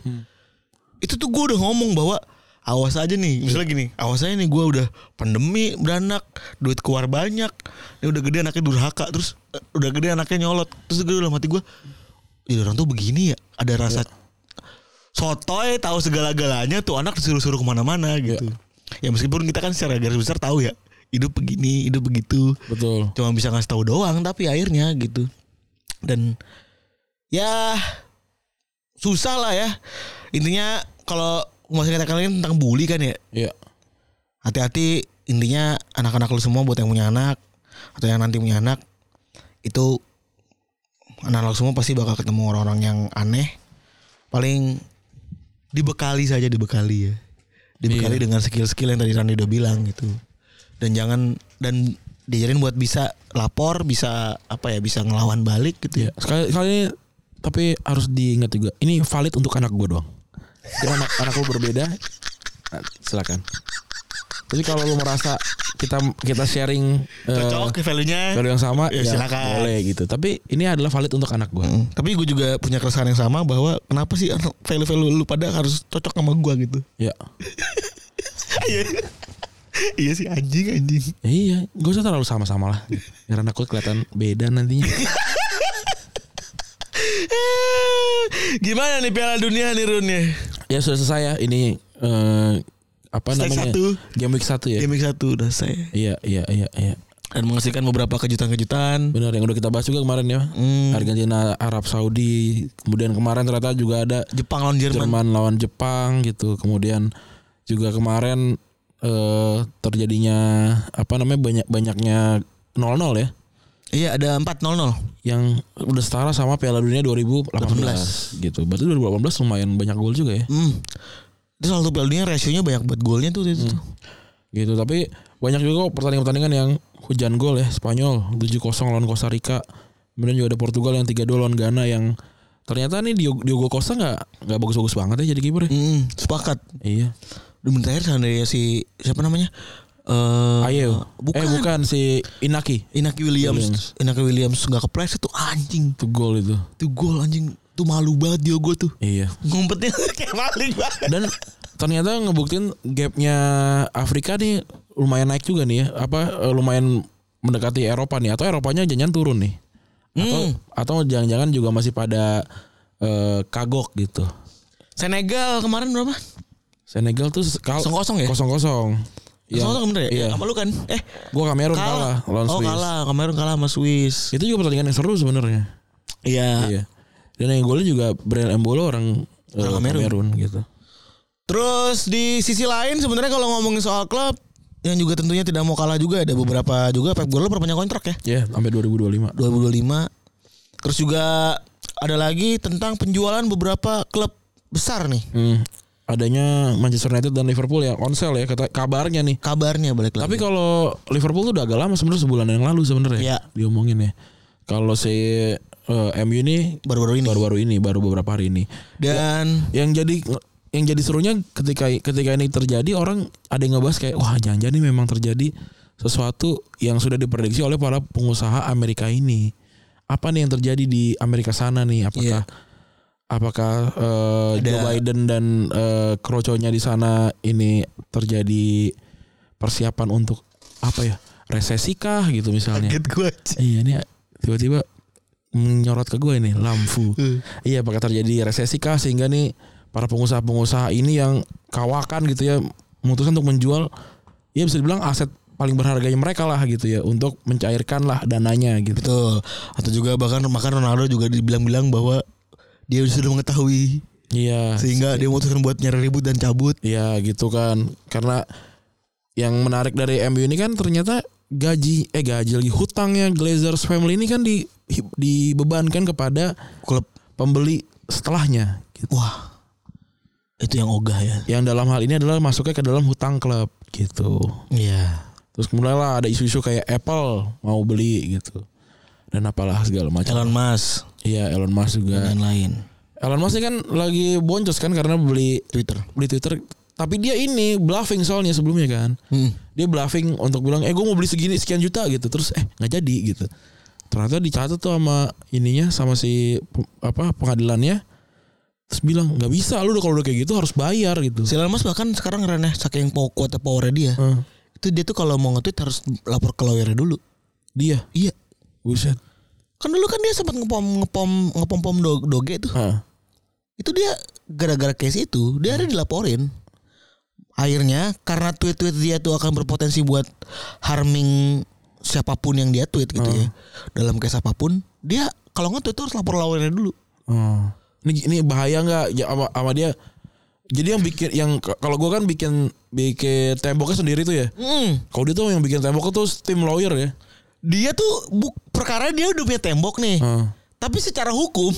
C: Itu tuh gue udah ngomong bahwa Awas aja nih, misalnya gini Awas aja nih gue udah pandemi beranak Duit keluar banyak Dia udah gede anaknya durhaka Terus eh, udah gede anaknya nyolot Terus gue dalam hati gue Jadi orang tuh begini ya Ada rasa sotoy tahu segala-galanya tuh anak disuruh-suruh kemana-mana gitu. Ya meskipun kita kan secara garis besar tahu ya hidup begini, hidup begitu.
B: Betul.
C: Cuma bisa ngasih tahu doang tapi akhirnya gitu. Dan ya susah lah ya. Intinya kalau masih kata kalian tentang bully kan ya.
B: Iya.
C: Hati-hati intinya anak-anak lu semua buat yang punya anak atau yang nanti punya anak itu anak-anak semua pasti bakal ketemu orang-orang yang aneh. Paling dibekali saja dibekali ya. Dibekali
B: Iya.
C: dengan skill-skill yang tadi Rani udah bilang gitu. Dan jangan dan diajarin buat bisa lapor, bisa apa ya, bisa ngelawan balik gitu ya.
B: Iya. Sekali sekali ini tapi harus diingat juga. Ini valid untuk anak gue doang. Jadi anak anak lu berbeda. nah, Silakan. Jadi kalau lu merasa kita kita sharing eh,
C: Cocok ya value-nya.
B: value yang sama
C: Ya, silakan.
B: boleh gitu. Tapi ini adalah valid untuk anak gue.
C: Mm. Tapi gue juga punya keresahan yang sama bahwa kenapa sih anak- value-value lu pada harus cocok sama gua gitu.
B: Ya.
C: Iya. iya sih anjing anjing.
B: Ya iya, gak usah terlalu sama-sama lah. Biar anak gue kelihatan beda nantinya.
C: Eh, Gimana nih Piala Dunia nih Run ya?
B: ya sudah selesai ya. Ini eh, apa
C: Stage
B: namanya?
C: satu.
B: Game week 1 ya.
C: Game week 1 Iya, udah saya.
B: Iya, iya, iya, iya.
C: Dan menghasilkan beberapa kejutan-kejutan.
B: Benar yang udah kita bahas juga kemarin ya.
C: Hmm.
B: Argentina, Arab Saudi, kemudian kemarin ternyata juga ada
C: Jepang lawan Jerman.
B: Jerman lawan Jepang gitu. Kemudian juga kemarin eh terjadinya apa namanya banyak banyaknya 0-0 ya
C: Iya ada 4-0-0.
B: yang udah setara sama Piala Dunia 2018 gitu. Berarti 2018 lumayan banyak gol juga ya.
C: Hmm. Itu salah satu Piala Dunia rasionya banyak buat golnya tuh itu tuh.
B: Gitu. Tapi banyak juga kok pertandingan-pertandingan yang hujan gol ya. Spanyol 7-0 lawan Costa Rica. Kemudian juga ada Portugal yang 3-2 lawan Ghana yang ternyata nih Diogo Diogo Costa nggak nggak bagus-bagus banget ya jadi kiper. ya.
C: Hmm, sepakat.
B: Iya.
C: Di menit terakhir seandainya si siapa namanya? Eh
B: Ayo. Eh
C: bukan.
B: bukan si Inaki.
C: Inaki Williams. Inaki Williams nggak kepleset tuh anjing.
B: Itu gol itu.
C: Tuh gol anjing. Tuh malu banget dia gue tuh.
B: Iya.
C: Ngumpetnya kayak maling banget.
B: Dan ternyata ngebuktiin gapnya Afrika nih lumayan naik juga nih ya. Apa eh, lumayan mendekati Eropa nih atau Eropanya jangan turun nih.
C: Hmm.
B: Atau atau jangan-jangan juga masih pada eh, kagok gitu.
C: Senegal kemarin berapa?
B: Senegal tuh sekal-
C: 0-0 ya?
B: 0-0. Yang-
C: Soalnya bener ya?
B: Iya.
C: Sama lu kan? Eh,
B: Gua Kamerun
C: kalah.
B: kalah, lawan
C: oh,
B: Swiss.
C: kalah. Kemarin kalah sama Swiss.
B: Itu juga pertandingan yang seru sebenarnya.
C: Iya.
B: Iya. Dan yang golnya juga Brian Embolo orang, eh,
C: Orang Kamerun.
B: Kamerun gitu.
C: Terus di sisi lain sebenarnya kalau ngomongin soal klub yang juga tentunya tidak mau kalah juga ada beberapa juga Pep Guardiola perpanjang kontrak ya
B: Ya, sampai 2025.
C: 2025. Terus juga ada lagi tentang penjualan beberapa klub besar nih
B: Hmm. Adanya Manchester United dan Liverpool ya on sale ya kata kabarnya nih.
C: kabarnya balik
B: Tapi
C: lagi.
B: kalau Liverpool tuh udah agak lama sebenarnya sebulan yang lalu sebenarnya
C: Iya.
B: diomongin ya. Kalau si eh, MU ini
C: baru-baru ini.
B: baru-baru ini baru beberapa hari ini.
C: Dan
B: Yang jadi yang jadi serunya ketika ketika ini terjadi orang ada yang ngebahas kayak wah jangan-jangan ini memang terjadi sesuatu yang sudah diprediksi oleh para pengusaha Amerika ini. Apa nih yang terjadi di Amerika sana nih? Apakah apakah eh,
C: Ada-
B: Joe Biden dan eh, kroconya di sana ini terjadi persiapan untuk apa ya resesi kah gitu misalnya
C: Kaget gue.
B: iya ini tiba-tiba menyorot ke gue ini lampu iya apakah terjadi resesi kah sehingga nih para pengusaha-pengusaha ini yang kawakan gitu ya memutuskan untuk menjual ya bisa dibilang aset paling berharganya mereka lah gitu ya untuk mencairkan lah dananya gitu
C: Betul. Atau juga bahkan bahkan Ronaldo juga dibilang-bilang bahwa dia sudah mengetahui
B: iya
C: sehingga dia memutuskan buat nyari ribut dan cabut.
B: Ya gitu kan Karena Yang menarik dari MU ini kan ternyata Gaji Eh gaji lagi Hutangnya Glazers family ini kan di, Dibebankan kepada
C: Klub
B: Pembeli setelahnya gitu.
C: wah itu yang ogah ya.
B: Yang dalam hal ini adalah Masuknya ke dalam hutang klub Gitu
C: Iya.
B: Terus kemudian lah ada isu-isu kayak Apple Mau beli gitu Dan apalah segala macam
C: Elon Musk
B: Iya Elon Musk
C: dan
B: juga
C: lain-lain.
B: Elon Musk ini kan lagi boncos kan Karena beli
C: Twitter.
B: Beli Twitter Tapi dia ini bluffing soalnya sebelumnya kan
C: Hmm.
B: dia bluffing untuk bilang eh gue mau beli segini sekian juta gitu terus eh nggak jadi gitu ternyata dicatat tuh sama ininya sama si pe- apa pengadilannya terus bilang nggak bisa lu udah kalau udah kayak gitu harus bayar gitu
C: Elon Musk bahkan sekarang reneh saking pow- kuatnya powernya dia.
B: Heeh.
C: Itu dia tuh kalau mau nge-tweet harus lapor ke lawyernya dulu.
B: dia
C: Iya.
B: buset
C: Kan dulu kan dia sempat ngepom ngepom ngepom pom do- doge tuh.
B: Heeh.
C: Itu dia gara-gara case itu dia ada dilaporin. Akhirnya karena tweet-tweet dia tuh akan berpotensi buat harming siapapun yang dia tweet gitu ya. Dalam case apapun, dia kalau nge-tweet tuh harus lapor lawyernya dulu.
B: Oh. Ini ini bahaya nggak ya, sama, sama dia? Jadi yang bikin yang k- kalau gua kan bikin bikin temboknya sendiri tuh ya.
C: Mm.
B: Kalau dia tuh yang bikin temboknya tuh tim lawyer ya.
C: Dia tuh buk, perkara dia udah punya tembok nih.
B: Heeh.
C: Tapi secara hukum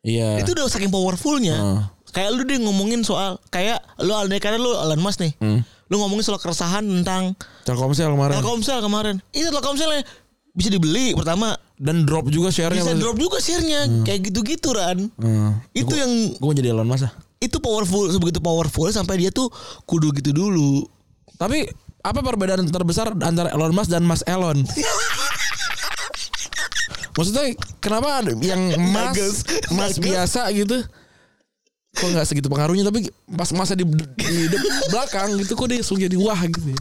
B: Iya.
C: itu udah saking powerfulnya
B: Heeh.
C: kayak lu deh ngomongin soal kayak lu andai karena lu Elon Musk nih
B: Hmm.
C: lu ngomongin soal keresahan tentang
B: Telkomsel kemarin.
C: Telkomsel kemarin itu Telkomselnya bisa dibeli pertama
B: Dan drop juga share-nya.
C: bisa
B: Mas.
C: drop juga share-nya kayak gitu-gitu Ran
B: Heeh.
C: itu
B: Gua-
C: yang
B: gua mau jadi Elon Musk ah.
C: itu powerful sebegitu powerful sampai dia tuh kudu gitu dulu
B: Tapi apa perbedaan terbesar antara Elon Musk dan Mas Elon? Maksudnya kenapa ada yang Mas
C: Nuggets.
B: Mas
C: Nuggets.
B: biasa gitu? Kok nggak segitu pengaruhnya tapi pas masa di, di de- belakang gitu kok dia langsung jadi wah gitu ya.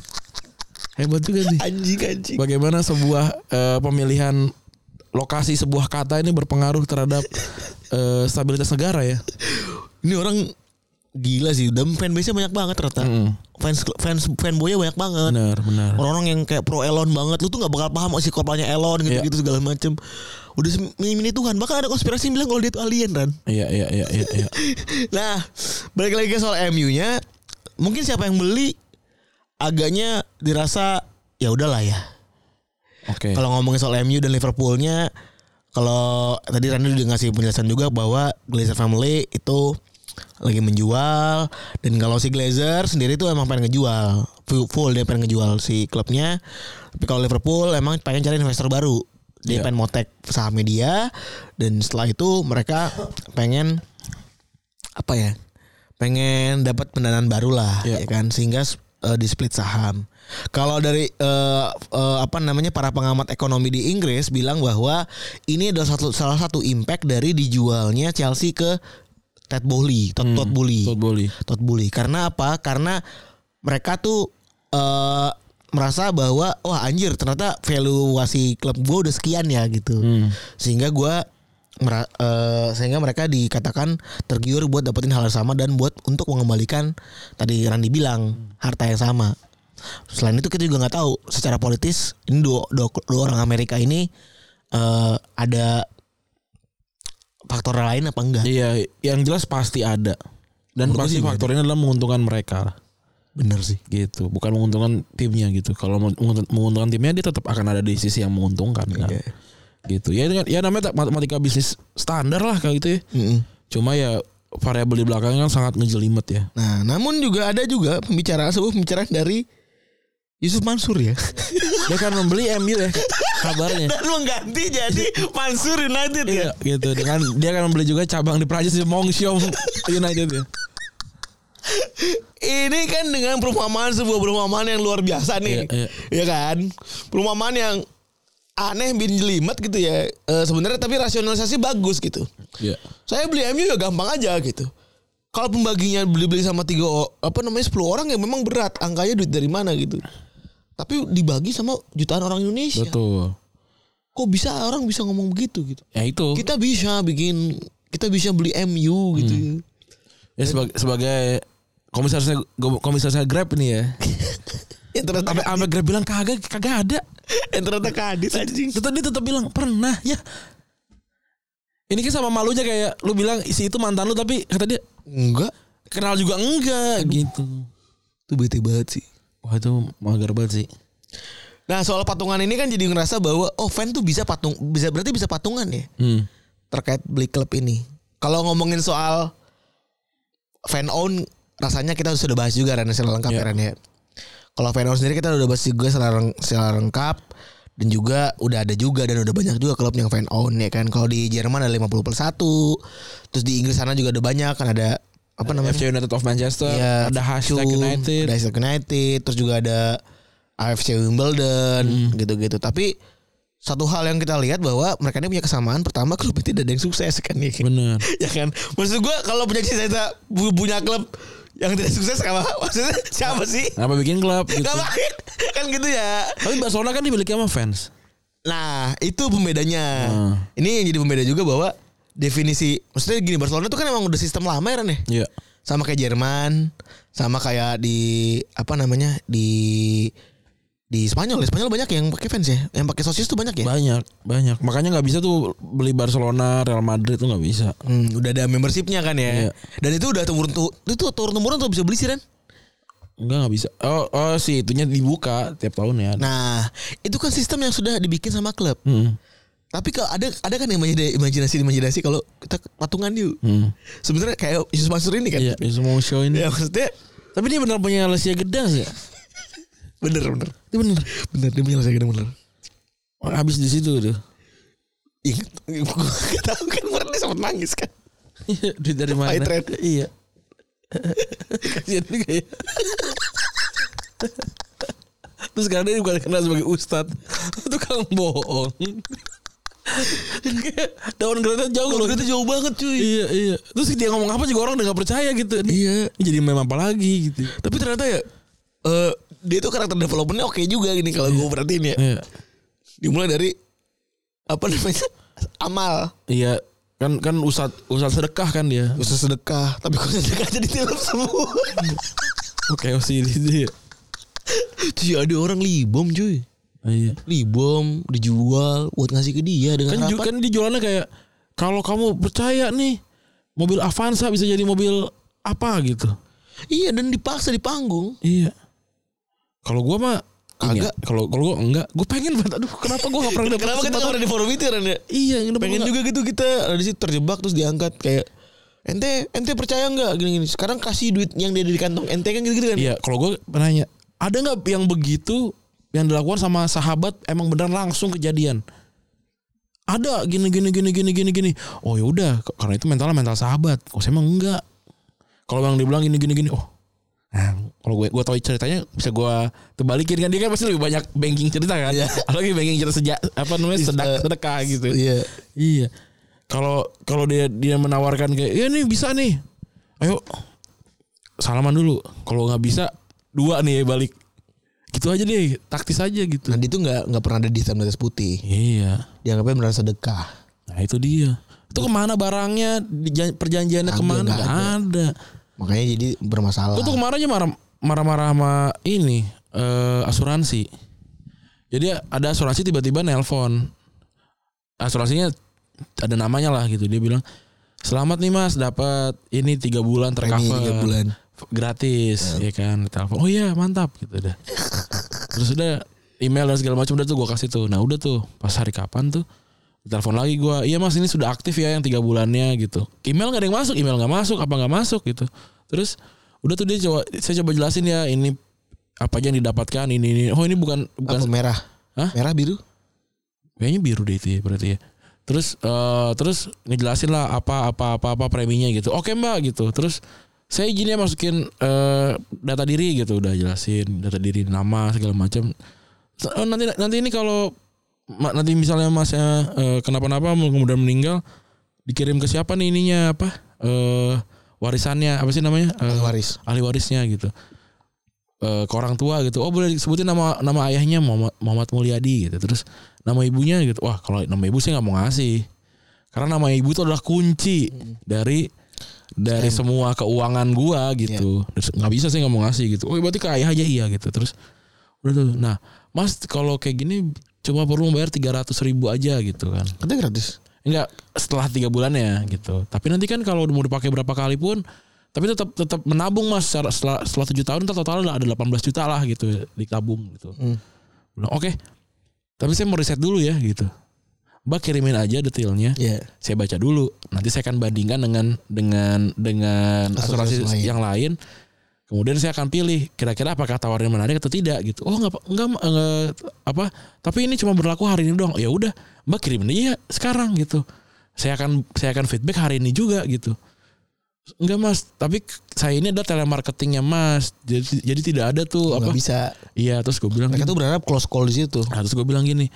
B: Hebat juga sih.
C: anjing anjing
B: Bagaimana sebuah eh, pemilihan lokasi sebuah kata ini berpengaruh terhadap eh, stabilitas negara ya?
C: ini orang gila sih dan fanbase-nya banyak banget ternyata fans fans fanboy-nya banyak banget
B: Benar, benar.
C: orang-orang yang kayak pro Elon banget lu tuh nggak bakal paham si korbannya Elon gitu-gitu segala macem udah mini Tuhan bahkan ada konspirasi yang bilang kalau dia itu alien kan
B: Iya, iya, iya, iya, iya.
C: nah balik lagi ke soal MU-nya mungkin siapa yang beli agaknya dirasa ya udahlah ya
B: Oke.
C: kalau ngomongin soal MU dan Liverpoolnya kalau tadi Randy udah ngasih penjelasan juga bahwa Glazer Family itu lagi menjual dan kalau si Glazer sendiri tuh emang pengen ngejual full full dia pengen ngejual si klubnya tapi kalau Liverpool emang pengen cari investor baru dia
B: Iya.
C: pengen motek sahamnya dia dan setelah itu mereka pengen apa ya pengen dapat pendanaan baru lah
B: Iya.
C: ya kan sehingga eh, di split saham kalau dari eh, eh, apa namanya para pengamat ekonomi di Inggris bilang bahwa ini adalah satu salah satu impact dari dijualnya Chelsea ke Ted Bowley Todd, Todd Bowley
B: Todd Bowley.
C: Todd Bowley karena apa karena mereka tuh eh, merasa bahwa wah anjir ternyata valuasi klub gue udah sekian ya gitu sehingga gua mera- eh, sehingga mereka dikatakan tergiur buat dapetin hal yang sama dan buat untuk mengembalikan tadi Randi bilang harta yang sama. Selain itu kita juga nggak tahu secara politis ini dua, dua, dua orang Amerika ini eh, ada faktor lain apa enggak?
B: Iya, yang jelas pasti ada. Dan
C: Menurut
B: pasti
C: gua sih
B: faktornya adalah menguntungkan mereka
C: Bener sih.
B: gitu, bukan menguntungkan timnya gitu. Kalau mau- menguntun- menguntungkan timnya dia tetap akan ada di sisi yang menguntungkan kan.
C: Oke.
B: Gitu. Ya dengan- ya namanya tak- matematika bisnis standar lah kayak gitu ya.
C: Mm-mm.
B: Cuma ya variabel di belakangnya kan sangat ngejelimet ya.
C: Nah, namun juga ada juga pembicaraan sebuah pembicaraan dari Yusuf Mansur ya.
B: Dia kan membeli MU ya kabarnya.
C: dan mengganti jadi Mansur United ya.
B: Iya, gitu. Dengan dia akan membeli juga cabang di Prancis di Mongsiong United ya.
C: Ini kan dengan perumpamaan sebuah perumpamaan yang luar biasa
B: Iya,
C: nih.
B: iya.
C: Iya, kan? Perumpamaan yang aneh bin jelimet gitu ya. Eh, sebenarnya tapi rasionalisasi bagus gitu.
B: Iya.
C: Saya beli MU ya gampang aja gitu. Kalau pembaginya beli-beli sama tiga o- apa namanya 10 orang ya memang berat angkanya duit dari mana gitu. Tapi dibagi sama jutaan orang Indonesia.
B: Betul.
C: Kok bisa orang bisa ngomong begitu gitu?
B: Ya itu.
C: Kita bisa bikin kita bisa beli MU gitu. ya.
B: Ya sebagai sebagai komisarisnya komisarisnya Grab ini ya.
C: Yang ternyata
B: Sampai sampai Grab bilang kagak kagak ada.
C: yang ternyata kadis anjing.
B: Tetap dia tetap bilang pernah ya. Ini kan sama malunya kayak lu bilang si itu mantan lu tapi kata dia
C: Enggak.
B: kenal juga enggak gitu.
C: Itu bete banget sih.
B: Wah itu mager banget sih.
C: Nah soal patungan ini kan jadi ngerasa bahwa oh fan tuh bisa patung bisa berarti bisa patungan ya
B: Hmm.
C: terkait beli klub ini. Kalau ngomongin soal fan own rasanya kita sudah bahas juga Ran secara lengkap
B: Iya.
C: ya, Ran, ya. Kalau fan own sendiri kita udah bahas juga secara, leng- secara lengkap dan juga udah ada juga dan udah banyak juga klub yang fan own ya kan. Kalau di Jerman ada 50 plus 1. Terus di Inggris sana juga ada banyak kan ada apa namanya?
B: FC United of Manchester,
C: Iya,
B: ada hashtag
C: Cum,
B: United.
C: ada
B: Hmm.
C: hashtag United, terus juga ada AFC Wimbledon gitu-gitu. Tapi satu hal yang kita lihat bahwa mereka ini punya kesamaan pertama klub itu tidak ada yang sukses kan ya, kan?
B: Bener.
C: ya kan maksud gua kalau punya cita-cita bu- punya klub yang tidak sukses apa maksudnya siapa sih
B: Apa bikin klub gitu.
C: Gak baik kan gitu ya
B: Tapi Barcelona kan dimiliki sama fans.
C: Nah itu pembedanya
B: Hmm.
C: Ini yang jadi pembeda juga bahwa Definisi Maksudnya gini Barcelona tuh kan emang udah sistem lama ya Ren, ya?
B: Iya.
C: Sama kayak Jerman Sama kayak di Apa namanya Di Di Spanyol Di Spanyol banyak yang pakai fans ya Yang pakai sosis tuh banyak ya
B: Banyak, banyak. Makanya nggak bisa tuh beli Barcelona, Real Madrid tuh nggak bisa.
C: Hmm, udah ada membershipnya kan ya
B: Iya.
C: Dan itu udah turun tu- Itu turun temurun tuh bisa beli sih Ren
B: Enggak nggak bisa. Oh, oh si itunya dibuka tiap tahun ya.
C: Nah Itu kan sistem yang sudah dibikin sama klub
B: Hmm.
C: Tapi kalau ada ada kan imajinasi imajinasi kalau kita patungan yuk.
B: Hmm.
C: Sebenarnya kayak Yesus Mansur ini kan.
B: Iya, ya, semua show ini.
C: Ya maksudnya
B: Tapi dia benar punya Lesia Gedang sih. ya?
C: bener bener
B: Dia benar.
C: bener dia punya saya bener.
B: Habis di situ tuh.
C: Ingat, gue gak tahu kan kemarin dia sempat nangis kan.
B: Iya, Duit dari mana?
C: Fight rate.
B: Iya. Kasihan juga ya. Terus sekarang dia bukan dikenal sebagai ustad Tukang bohong Downgrade-nya jauh loh
C: Downgrade-nya
B: jauh banget cuy Iya iya Terus dia ngomong apa juga orang udah gak percaya gitu Ini
C: Iya.
B: Jadi meme apa lagi gitu
C: Tapi ternyata ya eh dia tuh karakter developmentnya oke juga gini kalau gue perhatiin ya.
B: Iya
C: Dimulai dari apa namanya amal
B: Iya Kan kan ustad ustad sedekah kan dia
C: usaha sedekah tapi kok sedekah jadi tilam semua
B: Oke sih dia
C: cuy ada orang libom cuy
B: Iya
C: libom dijual buat ngasih ke dia dengan
B: kan, ju-
C: harapan
B: kan dia jualannya kayak kalau kamu percaya nih mobil Avanza bisa jadi mobil apa gitu
C: iya dan dipaksa di panggung
B: iya kalau gua mah
C: Agak.
B: agak kalau kalau gua enggak gua pengen banget aduh kenapa gua gak pernah dapet
C: kenapa kita
B: kesempatan?
C: nggak pernah di forum itu Ren, ya
B: iya
C: pengen juga gitu kita ada di situ terjebak terus diangkat kayak ente ente percaya nggak gini gini sekarang kasih duit yang dia ada di kantong ente kan gitu gitu kan
B: iya kalau gua nanya ada nggak yang begitu yang dilakukan sama sahabat emang bener langsung kejadian ada gini gini gini gini gini gini oh yaudah karena itu mentalnya mental sahabat oh saya emang enggak kalau yang dibilang gini gini gini oh Nah, kalau gue gue tahu ceritanya bisa gue terbalikin kan dia kan pasti lebih banyak banking cerita kan
C: Iya.
B: apalagi banking cerita sejak apa namanya sedak
C: Iya.
B: sedekah gitu
C: Iya.
B: iya kalau kalau dia dia menawarkan kayak ya nih bisa nih ayo salaman dulu kalau nggak bisa dua nih ya balik gitu aja deh taktis aja gitu
C: nah dia tuh nggak nggak pernah ada di hitam di atas putih
B: iya
C: dianggapnya benar sedekah
B: nah itu dia itu kemana barangnya Dijan- perjanjiannya
C: Kagak,
B: kemana
C: nggak
B: nggak ada.
C: makanya jadi
B: Gue
C: bermasalah
B: tuh kemarin aja marah- marah-marah sama ini eh, asuransi. Jadi ada asuransi tiba-tiba nelpon. Asuransinya ada namanya lah gitu. Dia bilang, "Selamat nih Mas, dapat ini tiga bulan
C: Premi
B: tercover."
C: tiga bulan
B: F- gratis ya kan telepon oh iya mantap gitu udah terus udah email dan segala macam udah tuh gue kasih tuh nah udah tuh pas hari kapan tuh telepon lagi gua iya mas ini sudah aktif ya yang tiga bulannya gitu email nggak ada yang masuk email nggak masuk apa nggak masuk gitu terus udah tuh dia coba saya coba jelasin ya ini apa aja yang didapatkan ini ini oh ini bukan bukan
C: apa merah
B: Hah?
C: merah biru
B: kayaknya biru deh itu ya berarti ya terus eh terus ngejelasin lah apa apa apa apa preminya gitu oke mbak gitu terus saya izin ya masukin eh data diri gitu udah jelasin data diri nama segala macam Terus, oh, nanti nanti ini kalau ma- nanti misalnya masnya eh, kenapa-napa kemudian meninggal dikirim ke siapa nih ininya apa eh warisannya apa sih namanya Eh,
C: Ahli waris
B: ahli warisnya gitu Eh ke orang tua gitu oh boleh disebutin nama nama ayahnya Muhammad, Muhammad Mulyadi gitu terus nama ibunya gitu wah kalau nama ibu saya nggak mau ngasih karena nama ibu itu adalah kunci dari dari semua keuangan gua gitu Terus nggak bisa saya nggak mau ngasih gitu oh berarti ke ayah aja iya gitu terus udah tuh nah mas kalau kayak gini cuma perlu bayar tiga ribu aja gitu kan
C: katanya gratis
B: Enggak setelah tiga bulannya gitu. Tapi nanti kan kalau mau dipakai berapa kali pun, tapi tetap tetap menabung mas secara- setelah setelah tujuh tahun ntar total ada 18 juta lah gitu ditabung gitu.
C: Hmm.
B: Bilang, Oke, tapi saya mau riset dulu ya gitu. Mbak kirimin aja detailnya.
C: Iya.
B: Saya baca dulu. Nanti saya akan bandingkan dengan dengan dengan
C: Asuransi
B: asuransi
C: lain.
B: yang lain. Kemudian saya akan pilih kira-kira apakah tawaran menarik atau tidak gitu. Oh nggak nggak eh, apa? Tapi ini cuma berlaku hari ini doang. Ya udah, Mbak kirim aja ya sekarang gitu. Saya akan saya akan feedback hari ini juga gitu. Enggak mas, tapi saya ini ada telemarketingnya mas. Jadi jadi tidak ada tuh
C: nggak
B: apa?
C: bisa
B: Iya terus gue bilang
C: mereka
B: gitu.
C: tuh berharap close call di situ
B: Nah, terus gue bilang gini,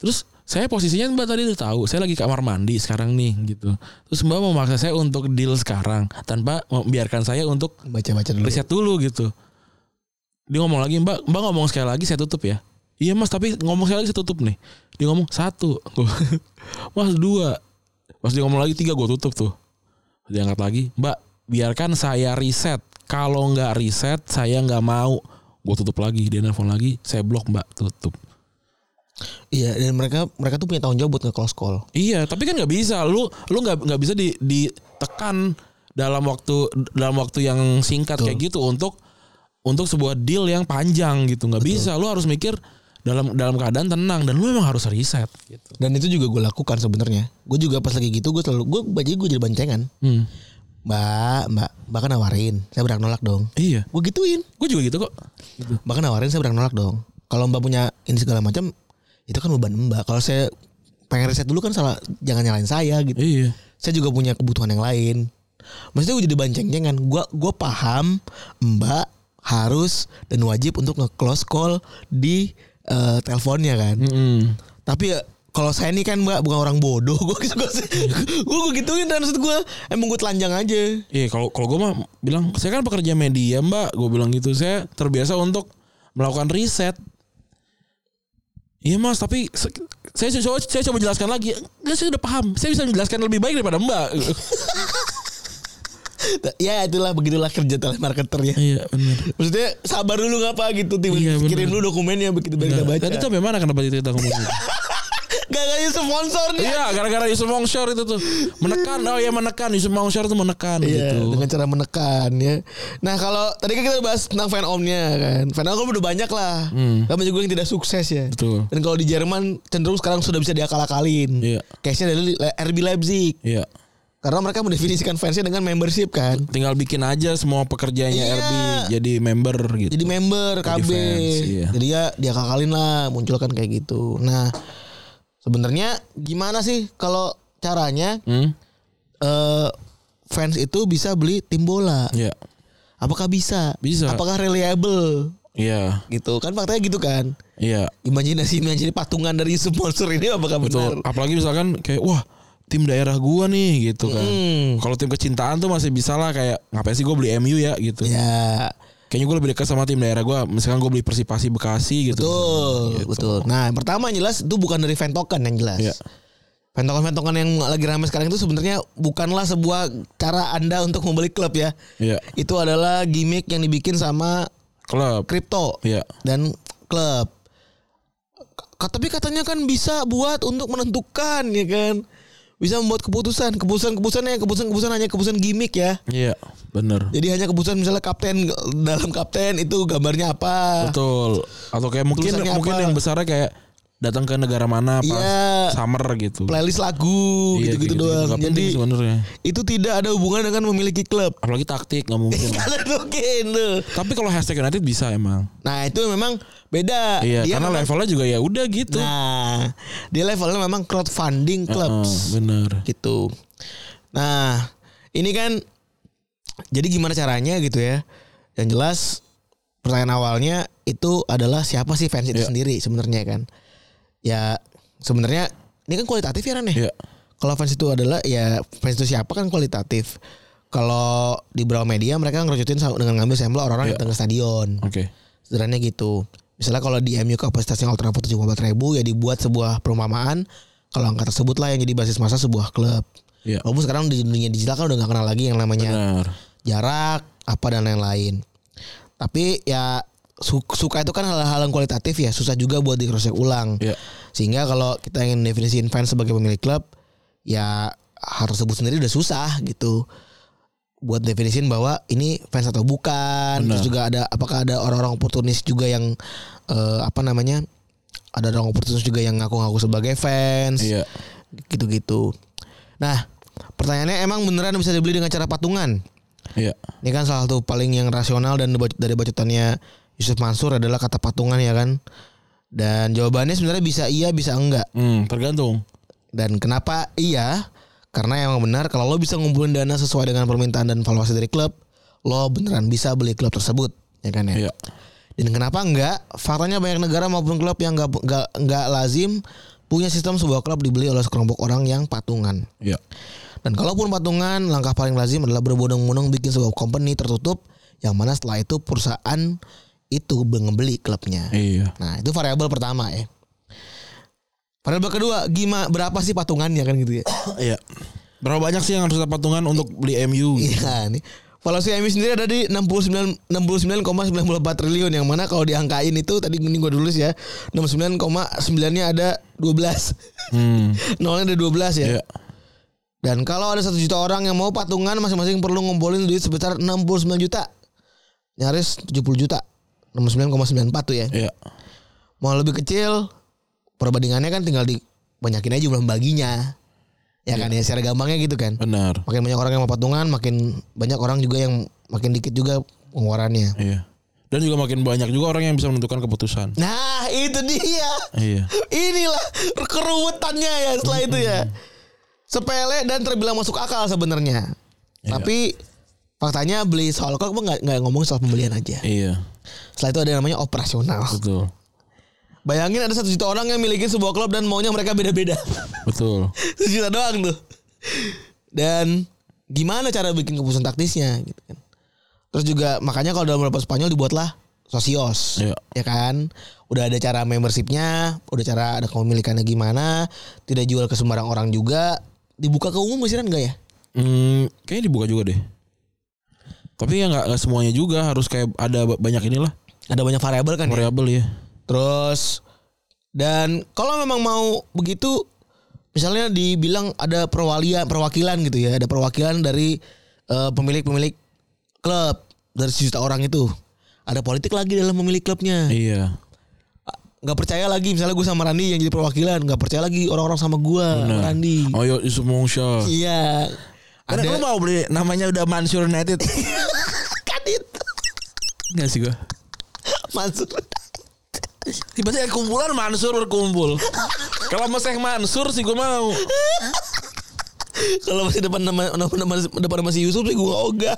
B: terus saya posisinya mbak tadi udah tahu saya lagi kamar mandi sekarang nih gitu terus mbak memaksa saya untuk deal sekarang tanpa membiarkan saya untuk
C: Baca-baca dulu.
B: riset dulu gitu dia ngomong lagi mbak mbak ngomong sekali lagi saya tutup ya iya mas tapi ngomong sekali lagi saya tutup nih dia ngomong satu Gua, mas dua pas dia ngomong lagi tiga gue tutup tuh dia angkat lagi mbak biarkan saya riset kalau nggak riset saya nggak mau gue tutup lagi dia nelfon lagi saya blok mbak tutup
C: Iya, dan mereka mereka tuh punya tanggung jawab buat nge-close call.
B: Iya, tapi kan nggak bisa. Lu lu nggak nggak bisa di, ditekan dalam waktu dalam waktu yang singkat kayak gitu untuk untuk sebuah deal yang panjang gitu. Nggak bisa. Lu harus mikir dalam dalam keadaan tenang dan lu memang harus riset gitu.
C: Dan itu juga gue lakukan sebenarnya. Gue juga pas lagi gitu gue selalu gue baju gue jadi bancengan.
B: Hmm.
C: Mbak, mbak, mbak kan nawarin. Saya berang nolak dong.
B: Iya.
C: Gue gituin.
B: Gue juga gitu kok.
C: Mbak kan nawarin saya berang nolak dong. Kalau mbak punya ini segala macam itu kan beban mbak. Kalau saya pengen riset dulu kan salah jangan nyalain saya gitu.
B: Iya.
C: Saya juga punya kebutuhan yang lain. Maksudnya gue jadi bancengan. Gue gue paham mbak harus dan wajib untuk nge-close call di eh, teleponnya kan.
B: Mm-mm.
C: Tapi ya kalau saya ini kan mbak bukan orang bodoh gue gitu gue gue gituin dan maksud gue emang gue telanjang aja
B: Iya, kalau kalau gue mah bilang saya kan pekerja media, Mbak. Gue bilang gitu. Saya terbiasa untuk melakukan riset. Iya mas, tapi se- saya coba saya coba jelaskan lagi. Enggak, saya udah paham. Saya bisa menjelaskan lebih baik daripada Mbak.
C: ya itulah begitulah kerja telemarketer ya
B: Iya benar.
C: maksudnya sabar dulu ngapa gitu tiba
B: Iya, bener.
C: kirim dulu dokumennya begitu biar kita baca
B: Tadi tuh bagaimana kenapa cerita ngomong gitu?
C: gak gak sponsor dia
B: Iya, gara-gara Yusuf Mongshor itu tuh menekan. Oh ya menekan Yusuf Mongshor tuh menekan
C: Iya,
B: gitu.
C: dengan cara menekan ya. Nah kalau tadi kan kita bahas tentang fan omnya kan, fan om udah banyak lah,
B: Hmm.
C: banyak juga yang tidak sukses ya.
B: Betul.
C: Dan kalau di Jerman cenderung sekarang sudah bisa diakal-akalin.
B: Iya.
C: Case-nya dari RB Leipzig.
B: Iya.
C: Karena mereka mendefinisikan fansnya dengan membership kan.
B: Tinggal bikin aja semua pekerjaannya
C: Iya.
B: RB jadi member gitu.
C: Jadi member KB.
B: fans, iya.
C: Jadi ya dia kakalin lah munculkan kayak gitu. Nah, sebenarnya gimana sih kalau caranya
B: hmm?
C: eh, fans itu bisa beli tim bola?
B: Iya.
C: Apakah bisa?
B: Bisa.
C: Apakah reliable?
B: Iya.
C: Gitu kan faktanya gitu kan.
B: Iya.
C: Imajinasi imajinasi patungan dari sponsor ini apakah benar?
B: Betul. Apalagi misalkan kayak wah tim daerah gua nih gitu kan.
C: Hmm.
B: Kalau tim kecintaan tuh masih bisa lah kayak ngapain sih gua beli MU ya gitu.
C: Ya,
B: Kayaknya gua lebih dekat sama tim daerah gua. Misalkan gua beli Persipasi Bekasi gitu.
C: betul, betul. Nah, yang pertama yang jelas itu bukan dari fan token yang jelas.
B: Iya.
C: Fan token-fan token yang lagi ramai sekarang itu sebenarnya bukanlah sebuah cara Anda untuk membeli klub ya.
B: Iya.
C: Itu adalah gimmick yang dibikin sama
B: Klub.
C: kripto
B: Iya.
C: dan klub. K- tapi katanya kan bisa buat untuk menentukan ya kan. Bisa membuat keputusan, keputusan-keputusan yang keputusan-keputusan hanya keputusan gimmick ya.
B: Iya, bener.
C: Jadi hanya keputusan misalnya kapten dalam kapten itu gambarnya apa?
B: Betul. Atau kayak mungkin
C: Tulisannya
B: mungkin
C: apa?
B: yang besarnya kayak datang ke negara mana pas
C: Iya.
B: summer gitu.
C: Playlist lagu
B: Iya,
C: gitu-gitu
B: kayak
C: doang.
B: Nggak
C: Jadi
B: penting sebenarnya.
C: itu tidak ada hubungan dengan memiliki klub.
B: Apalagi taktik nggak mungkin.
C: Kalian mungkin tuh.
B: Tapi kalau hashtag United bisa emang.
C: Nah itu memang beda.
B: Iya,
C: Dia
B: karena
C: memang-
B: levelnya juga ya udah gitu.
C: Nah dia levelnya memang crowdfunding
B: Heeh,
C: clubs
B: bener.
C: gitu. Nah ini kan jadi gimana caranya gitu ya? Yang jelas pertanyaan awalnya itu adalah siapa sih fans itu
B: Iya.
C: sendiri sebenarnya kan? Ya sebenarnya ini kan kualitatif ya Ran ya?
B: Iya.
C: Kalau fans itu adalah ya fans itu siapa kan kualitatif. Kalau di Brawl Media mereka ngerucutin sama- dengan ngambil sampel orang-orang yang
B: Iya.
C: datang ke stadion.
B: Oke.
C: Sederhananya gitu. Misalnya kalau di MU kapasitasnya Ultra Foto 74 ribu ya dibuat sebuah perumpamaan kalau angka tersebut lah yang jadi basis masa sebuah klub.
B: Iya.
C: Walaupun sekarang di dunia digital kan udah gak kenal lagi yang namanya
B: Benar.
C: jarak apa dan lain-lain. Tapi ya su- suka itu kan hal-hal yang kualitatif ya susah juga buat di cross ulang.
B: Iya.
C: Sehingga kalau kita ingin definisiin fans sebagai pemilik klub, ya harus sebut sendiri udah susah gitu. Buat definisiin bahwa ini fans atau bukan. Terus
B: Benar.
C: juga ada apakah ada orang-orang oportunis juga yang eh, apa namanya? Ada orang oportunis juga yang ngaku-ngaku sebagai fans.
B: Iya.
C: Gitu-gitu. Nah, pertanyaannya emang beneran bisa dibeli dengan cara patungan?
B: Iya.
C: Ini kan salah satu paling yang rasional dan deba- dari bacotannya Yusuf Mansur adalah kata patungan ya kan. Dan jawabannya sebenarnya bisa iya bisa enggak.
B: Hmm, tergantung.
C: Dan kenapa iya? Karena emang benar kalau lo bisa ngumpulin dana sesuai dengan permintaan dan valuasi dari klub, lo beneran bisa beli klub tersebut, ya kan ya.
B: Iya.
C: Dan kenapa enggak? Faktanya banyak negara maupun klub yang enggak enggak, enggak lazim Punya sistem sebuah klub dibeli oleh sekelompok orang yang patungan.
B: Iya.
C: Dan kalaupun patungan, langkah paling lazim adalah berbondong-bondong bikin sebuah company tertutup yang mana setelah itu perusahaan itu membeli klubnya.
B: Iya.
C: Nah, itu variabel pertama ya. Variabel kedua, gimana berapa sih patungannya kan gitu ya.
B: Iya. Berapa banyak sih yang harus dapat patungan untuk beli MU?
C: Iya nih. Valuasi MU sendiri ada di 69 69,94 triliun yang mana kalau diangkain itu tadi ini gua tulis ya. 69,9-nya ada 12.
B: Hmm.
C: Nolnya ada 12 ya.
B: Iya.
C: Dan kalau ada satu juta orang yang mau patungan masing-masing perlu ngumpulin duit sebesar 69 juta. Nyaris 70 juta. 69,94 tuh ya.
B: Iya.
C: Mau lebih kecil perbandingannya kan tinggal dibanyakin aja jumlah baginya. Ya kan ya secara gampangnya gitu kan.
B: Benar.
C: Makin banyak orang yang mau patungan, makin banyak orang juga yang makin dikit juga pengeluarannya.
B: Iya. Dan juga makin banyak juga orang yang bisa menentukan keputusan.
C: Nah, itu dia.
B: Iya.
C: Inilah keruwetannya ya setelah itu ya. Sepele dan terbilang masuk akal sebenarnya.
B: Iya.
C: Tapi faktanya beli soal kok nggak nggak ngomong soal pembelian aja.
B: Iya.
C: Setelah itu ada yang namanya operasional.
B: Betul.
C: Bayangin ada satu juta orang yang miliki sebuah klub dan maunya mereka beda-beda.
B: Betul.
C: Satu juta doang tuh. Dan gimana cara bikin keputusan taktisnya gitu kan. Terus juga makanya kalau dalam bahasa Spanyol dibuatlah sosios.
B: Iya.
C: Ya kan? Udah ada cara membershipnya, udah cara ada kepemilikannya gimana, tidak jual ke sembarang orang juga, dibuka ke umum sih enggak ya?
B: Hmm, kayaknya dibuka juga deh. Tapi ya nggak nggak semuanya juga harus kayak ada ba- banyak inilah
C: Ada banyak variabel kan. ya?
B: variabel ya.
C: Terus dan kalau memang mau begitu misalnya dibilang ada perwalian perwakilan gitu ya, ada perwakilan dari eh, pemilik-pemilik klub dari sejuta orang itu. Ada politik lagi dalam memilih klubnya.
B: Iya.
C: Nggak percaya lagi misalnya gue sama Randi yang jadi perwakilan, nggak percaya lagi orang-orang sama gue, sama Randi.
B: Ayo Yusuf Mongsa.
C: Iya.
B: Oh. Ada lu
C: Ada
B: mau beli namanya udah Mansur United.
C: kadit
B: Enggak sih gua.
C: masuk.
B: Tiba-tiba ada kumpulan Mansur berkumpul. Kalau sama Syekh Mansur sih gua mau.
C: Kalau masih depan nama nama- nama- depan masih Yusuf sih gue ogah.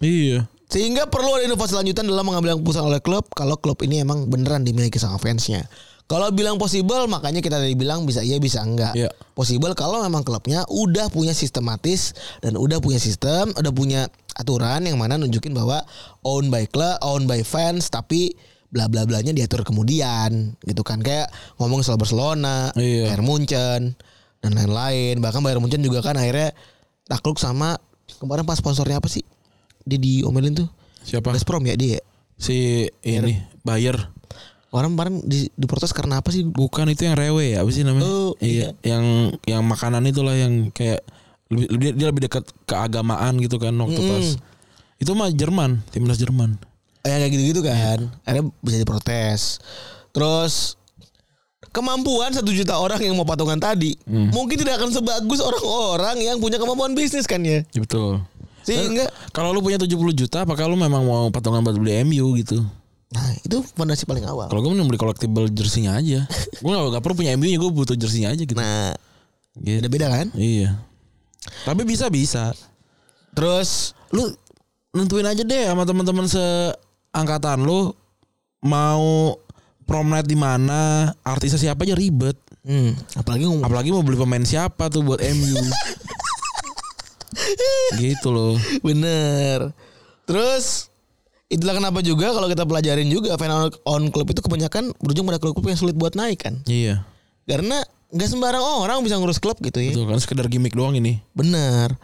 B: Iya.
C: Sehingga perlu ada inovasi lanjutan dalam mengambil keputusan oleh klub kalau klub ini emang beneran dimiliki sama fansnya. Kalau bilang possible makanya kita tadi bilang bisa iya bisa enggak.
B: Iya.
C: Possible kalau memang klubnya udah punya sistematis dan udah punya sistem, udah punya aturan yang mana nunjukin bahwa own by club, own by fans tapi bla bla blanya diatur kemudian gitu kan kayak ngomong soal Barcelona,
B: Iya.
C: Bayern Munchen dan lain-lain. Bahkan Bayern Munchen juga kan akhirnya takluk sama kemarin pas sponsornya apa sih? Dia diomelin tuh.
B: Siapa?
C: Gazprom ya dia.
B: Si ini Bayer.
C: Orang kemarin di, diprotes karena apa sih?
B: Bukan itu yang rewe ya, apa sih namanya?
C: Oh,
B: iya. Yang yang makanan itulah yang kayak lebih lebih- dia lebih dekat keagamaan gitu kan waktu pas. Itu mah Jerman, timnas Jerman.
C: Eh, kayak gitu-gitu kan.
B: Iya.
C: Akhirnya bisa diprotes. Terus kemampuan satu juta orang yang mau patungan tadi
B: Hmm.
C: mungkin tidak akan sebagus orang-orang yang punya kemampuan bisnis kan ya.
B: Ya, betul.
C: Sehingga
B: Kalau lu punya 70 juta apakah lu memang mau patungan buat beli MU gitu?
C: nah itu fondasi paling awal.
B: Kalau gue mending beli collectible jersinya aja. gue gak, perlu punya MU-nya, gue butuh jersinya aja gitu.
C: Nah,
B: Gitu.
C: beda-beda kan?
B: Iya. Tapi bisa bisa.
C: Terus
B: Lu nentuin aja deh sama teman-teman seangkatan lu mau prom night di mana, artisnya siapa aja ribet.
C: hmm, apalagi ngomong
B: Apalagi mau beli pemain siapa tuh buat MU. gitu loh.
C: Bener. Terus itulah kenapa juga kalau kita pelajarin juga fan on, on club itu kebanyakan berujung pada klub-klub yang sulit buat naik kan.
B: Iya.
C: Karena nggak sembarang orang bisa ngurus klub gitu ya.
B: Itu kan sekedar gimmick doang ini.
C: Bener.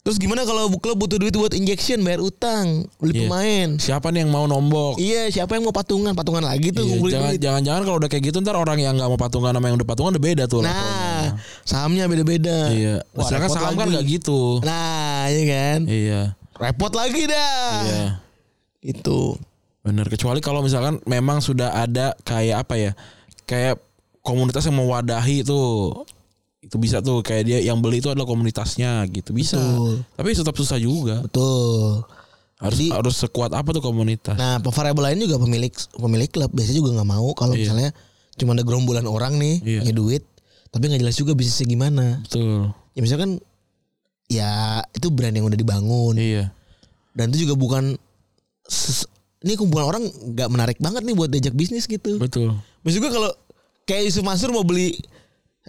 C: Terus gimana kalau klub butuh duit buat injection, bayar utang, beli
B: Iya.
C: pemain?
B: Siapa nih yang mau nombok?
C: Iya, siapa yang mau patungan? Patungan lagi
B: Iya,
C: tuh ngumpulin
B: jangan,
C: duit.
B: jangan jangan kalau udah kayak gitu ntar orang yang nggak mau patungan sama yang udah patungan udah beda tuh. levelnya.
C: Nah, sahamnya beda-beda.
B: Iya.
C: Wah,
B: Sedangkan
C: repot
B: saham kan
C: lagi.
B: nggak gitu.
C: Nah, iya kan?
B: Iya.
C: Repot lagi dah.
B: Iya.
C: Itu.
B: Bener kecuali kalau misalkan memang sudah ada kayak apa ya? Kayak komunitas yang mewadahi tuh itu bisa tuh kayak dia yang beli itu adalah komunitasnya gitu bisa.
C: Betul.
B: Tapi tetap susah juga.
C: Betul.
B: Harus
C: Jadi-
B: harus sekuat apa tuh komunitas.
C: Nah, variabel lain juga pemilik pemilik klub biasanya juga nggak mau kalau
B: Iya.
C: misalnya cuma ada gerombolan orang nih
B: Iya.
C: punya duit, tapi nggak jelas juga bisnisnya gimana.
B: Betul.
C: Ya misalkan ya itu brand yang udah dibangun
B: Iya.
C: dan itu juga bukan ses- ini kumpulan orang nggak menarik banget nih buat diajak bisnis gitu.
B: Betul.
C: Maksud gue kalau kayak Yusuf Mansur mau beli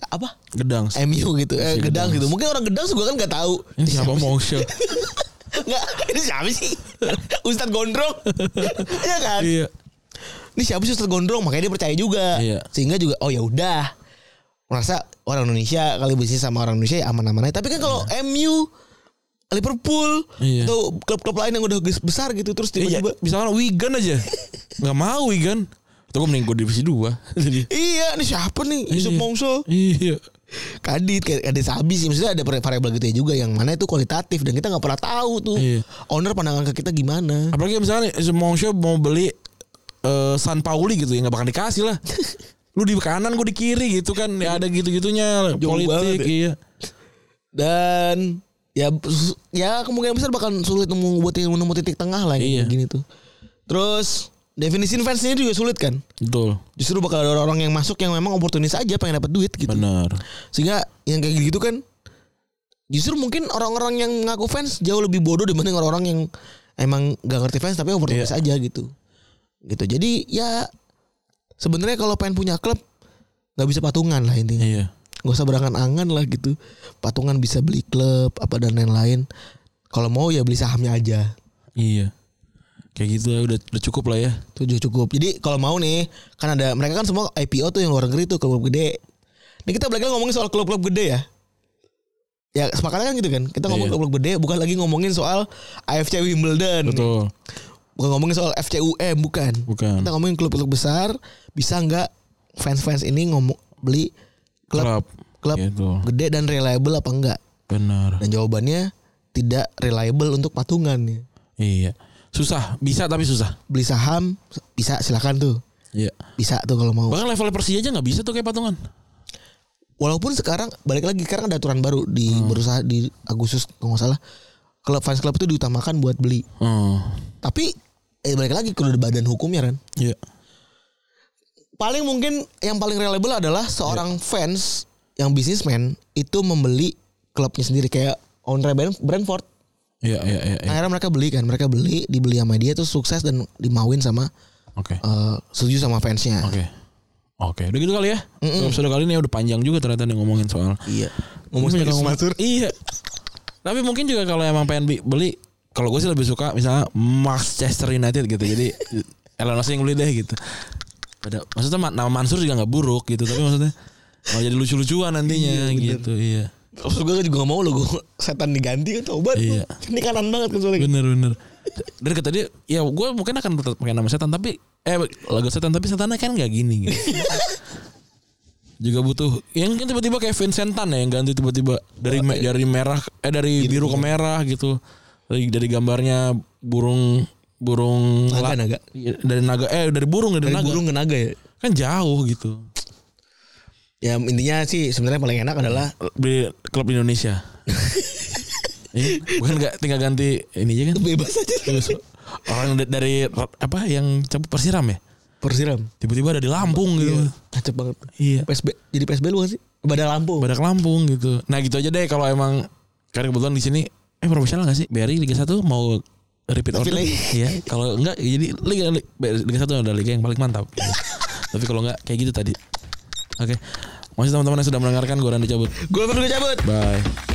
C: apa
B: Gedang.
C: MU gitu eh,
B: Si
C: gedang
B: Gedang.
C: gitu mungkin orang gedang juga kan nggak tahu
B: Ini siapa mau show?
C: nggak ini siapa sih Ustadz Gondrong ya kan
B: iya.
C: ini siapa sih Ustadz Gondrong makanya dia percaya juga
B: Iya.
C: sehingga juga oh ya udah merasa orang Indonesia kali bisnis sama orang Indonesia ya aman-aman aja tapi kan kalau MU Liverpool
B: Iya.
C: atau klub-klub lain yang udah ges- besar gitu terus
B: Iya,
C: tiba-tiba
B: misalkan Wigan aja. Enggak mau Wigan. Tuh gue mending gue divisi 2. Jadi
C: iya ini siapa nih
B: Iya.
C: Yusuf Mongso
B: Iya.
C: Kadit kayak ada sabi sih maksudnya ada variabel gitu ya juga yang mana itu kualitatif dan kita nggak pernah tahu tuh
B: Iya.
C: owner pandangan ke kita gimana
B: Apalagi misalkan semong show mau beli eh, San Pauli gitu ya nggak bakal dikasih lah. Lu di kanan gue di kiri gitu kan ya ada gitu-gitunya
C: Jauh banget
B: politik
C: ya.
B: iya.
C: dan ya sus- ya kemungkinan besar bakal sulit nemu buat nemu titik tengah lah
B: Iya.
C: yang kayak gini tuh terus definisi fans ini juga sulit kan
B: Betul.
C: justru bakal ada orang yang masuk yang memang oportunis aja pengen dapat duit gitu
B: Benar.
C: sehingga yang kayak gitu kan justru mungkin orang-orang yang ngaku fans jauh lebih bodoh dibanding orang-orang yang emang gak ngerti fans tapi oportunis
B: Iya.
C: aja gitu gitu jadi ya sebenarnya kalau pengen punya klub nggak bisa patungan lah intinya
B: Iya.
C: nggak usah berangan-angan lah gitu patungan bisa beli klub apa dan lain-lain kalau mau ya beli sahamnya aja
B: Iya. Kayak gitu lah udah, udah cukup lah ya.
C: itu juga cukup jadi kalau mau nih kan ada mereka kan semua IPO tuh yang luar negeri tuh klub gede ini kita balik lagi ngomongin soal klub-klub gede ya ya sepakat kan gitu kan kita ngomong
B: Iya.
C: klub-klub gede bukan lagi ngomongin soal AFC Wimbledon
B: Betul.
C: bukan ngomongin soal FCUM bukan
B: Bukan.
C: kita ngomongin klub-klub besar bisa nggak fans-fans ini ngomong beli klub
B: Klub.
C: klub
B: Gitu.
C: gede dan reliable apa enggak
B: Benar.
C: dan jawabannya tidak reliable untuk patungan
B: Iya. Susah, bisa tapi susah.
C: beli saham bisa silakan tuh
B: Iya.
C: bisa tuh kalau mau
B: Bahkan level Persija aja nggak bisa tuh kayak patungan.
C: walaupun sekarang balik lagi sekarang ada aturan baru di
B: Hmm.
C: berusaha di Agustus kalau nggak salah klub fans club itu diutamakan buat beli
B: Hmm.
C: tapi eh, balik lagi ke badan hukumnya kan
B: Iya.
C: paling mungkin yang paling reliable adalah seorang
B: Iya.
C: fans yang bisnismen itu membeli klubnya sendiri kayak Andre Bran- Brentford
B: Iya, iya, iya. iya.
C: akhirnya mereka beli kan mereka beli dibeli sama dia terus sukses dan dimauin sama
B: Oke.
C: eh, setuju sama fansnya
B: Oke. Oke, udah gitu kali ya. Episode kali ini udah panjang juga ternyata nih ngomongin soal.
C: Iya. Ngomong
B: Banyak
C: sama
B: ngomong-
C: Ismatur.
B: Iya. Tapi mungkin juga kalau emang pengen bi- beli, kalau gue sih lebih suka misalnya Manchester United gitu. Jadi Elon Musk yang beli deh gitu. Pada maksudnya ma- nama Mansur juga nggak buruk gitu, tapi maksudnya mau jadi lucu-lucuan nantinya gitu. Iya.
C: Terus gue juga gak mau lo gue setan diganti kan tobat.
B: Iya.
C: Ini kanan banget kan soalnya.
B: Bener bener. Dari kata dia, ya gue mungkin akan tetap pakai nama setan tapi eh lagu setan tapi setannya kan nggak gini. Gitu. Juga butuh yang kan tiba-tiba kayak Vincent Tan ya yang ganti tiba-tiba dari me- dari merah eh dari biru ke merah gitu. Dari, dari gambarnya burung burung
C: Naga, naga.
B: Iya, dari naga eh dari burung dari,
C: Dari
B: naga
C: burung ke naga ya.
B: kan jauh gitu
C: Ya intinya sih sebenarnya paling enak adalah
B: beli klub Indonesia Iya, bukan nggak tinggal ganti ini aja kan
C: bebas aja.
B: Terus orang da- dari apa yang cabut persiram ya
C: Persiram.
B: tiba-tiba ada di Lampung
C: Iya.
B: gitu
C: Kacau banget.
B: iya
C: PSB jadi PSB lu gak sih? Badak Lampung.
B: badak Lampung gitu nah gitu aja deh kalau emang karena kebetulan di sini eh profesional gak sih BRI Liga 1 mau repeat
C: Tapi
B: order
C: lagi.
B: ya kalau enggak ya jadi Liga Liga 1 adalah liga yang paling mantap gitu. tapi kalau enggak kayak gitu tadi oke masih teman-teman yang sudah mendengarkan gue Randy cabut
C: Gue perlu cabut.
B: bye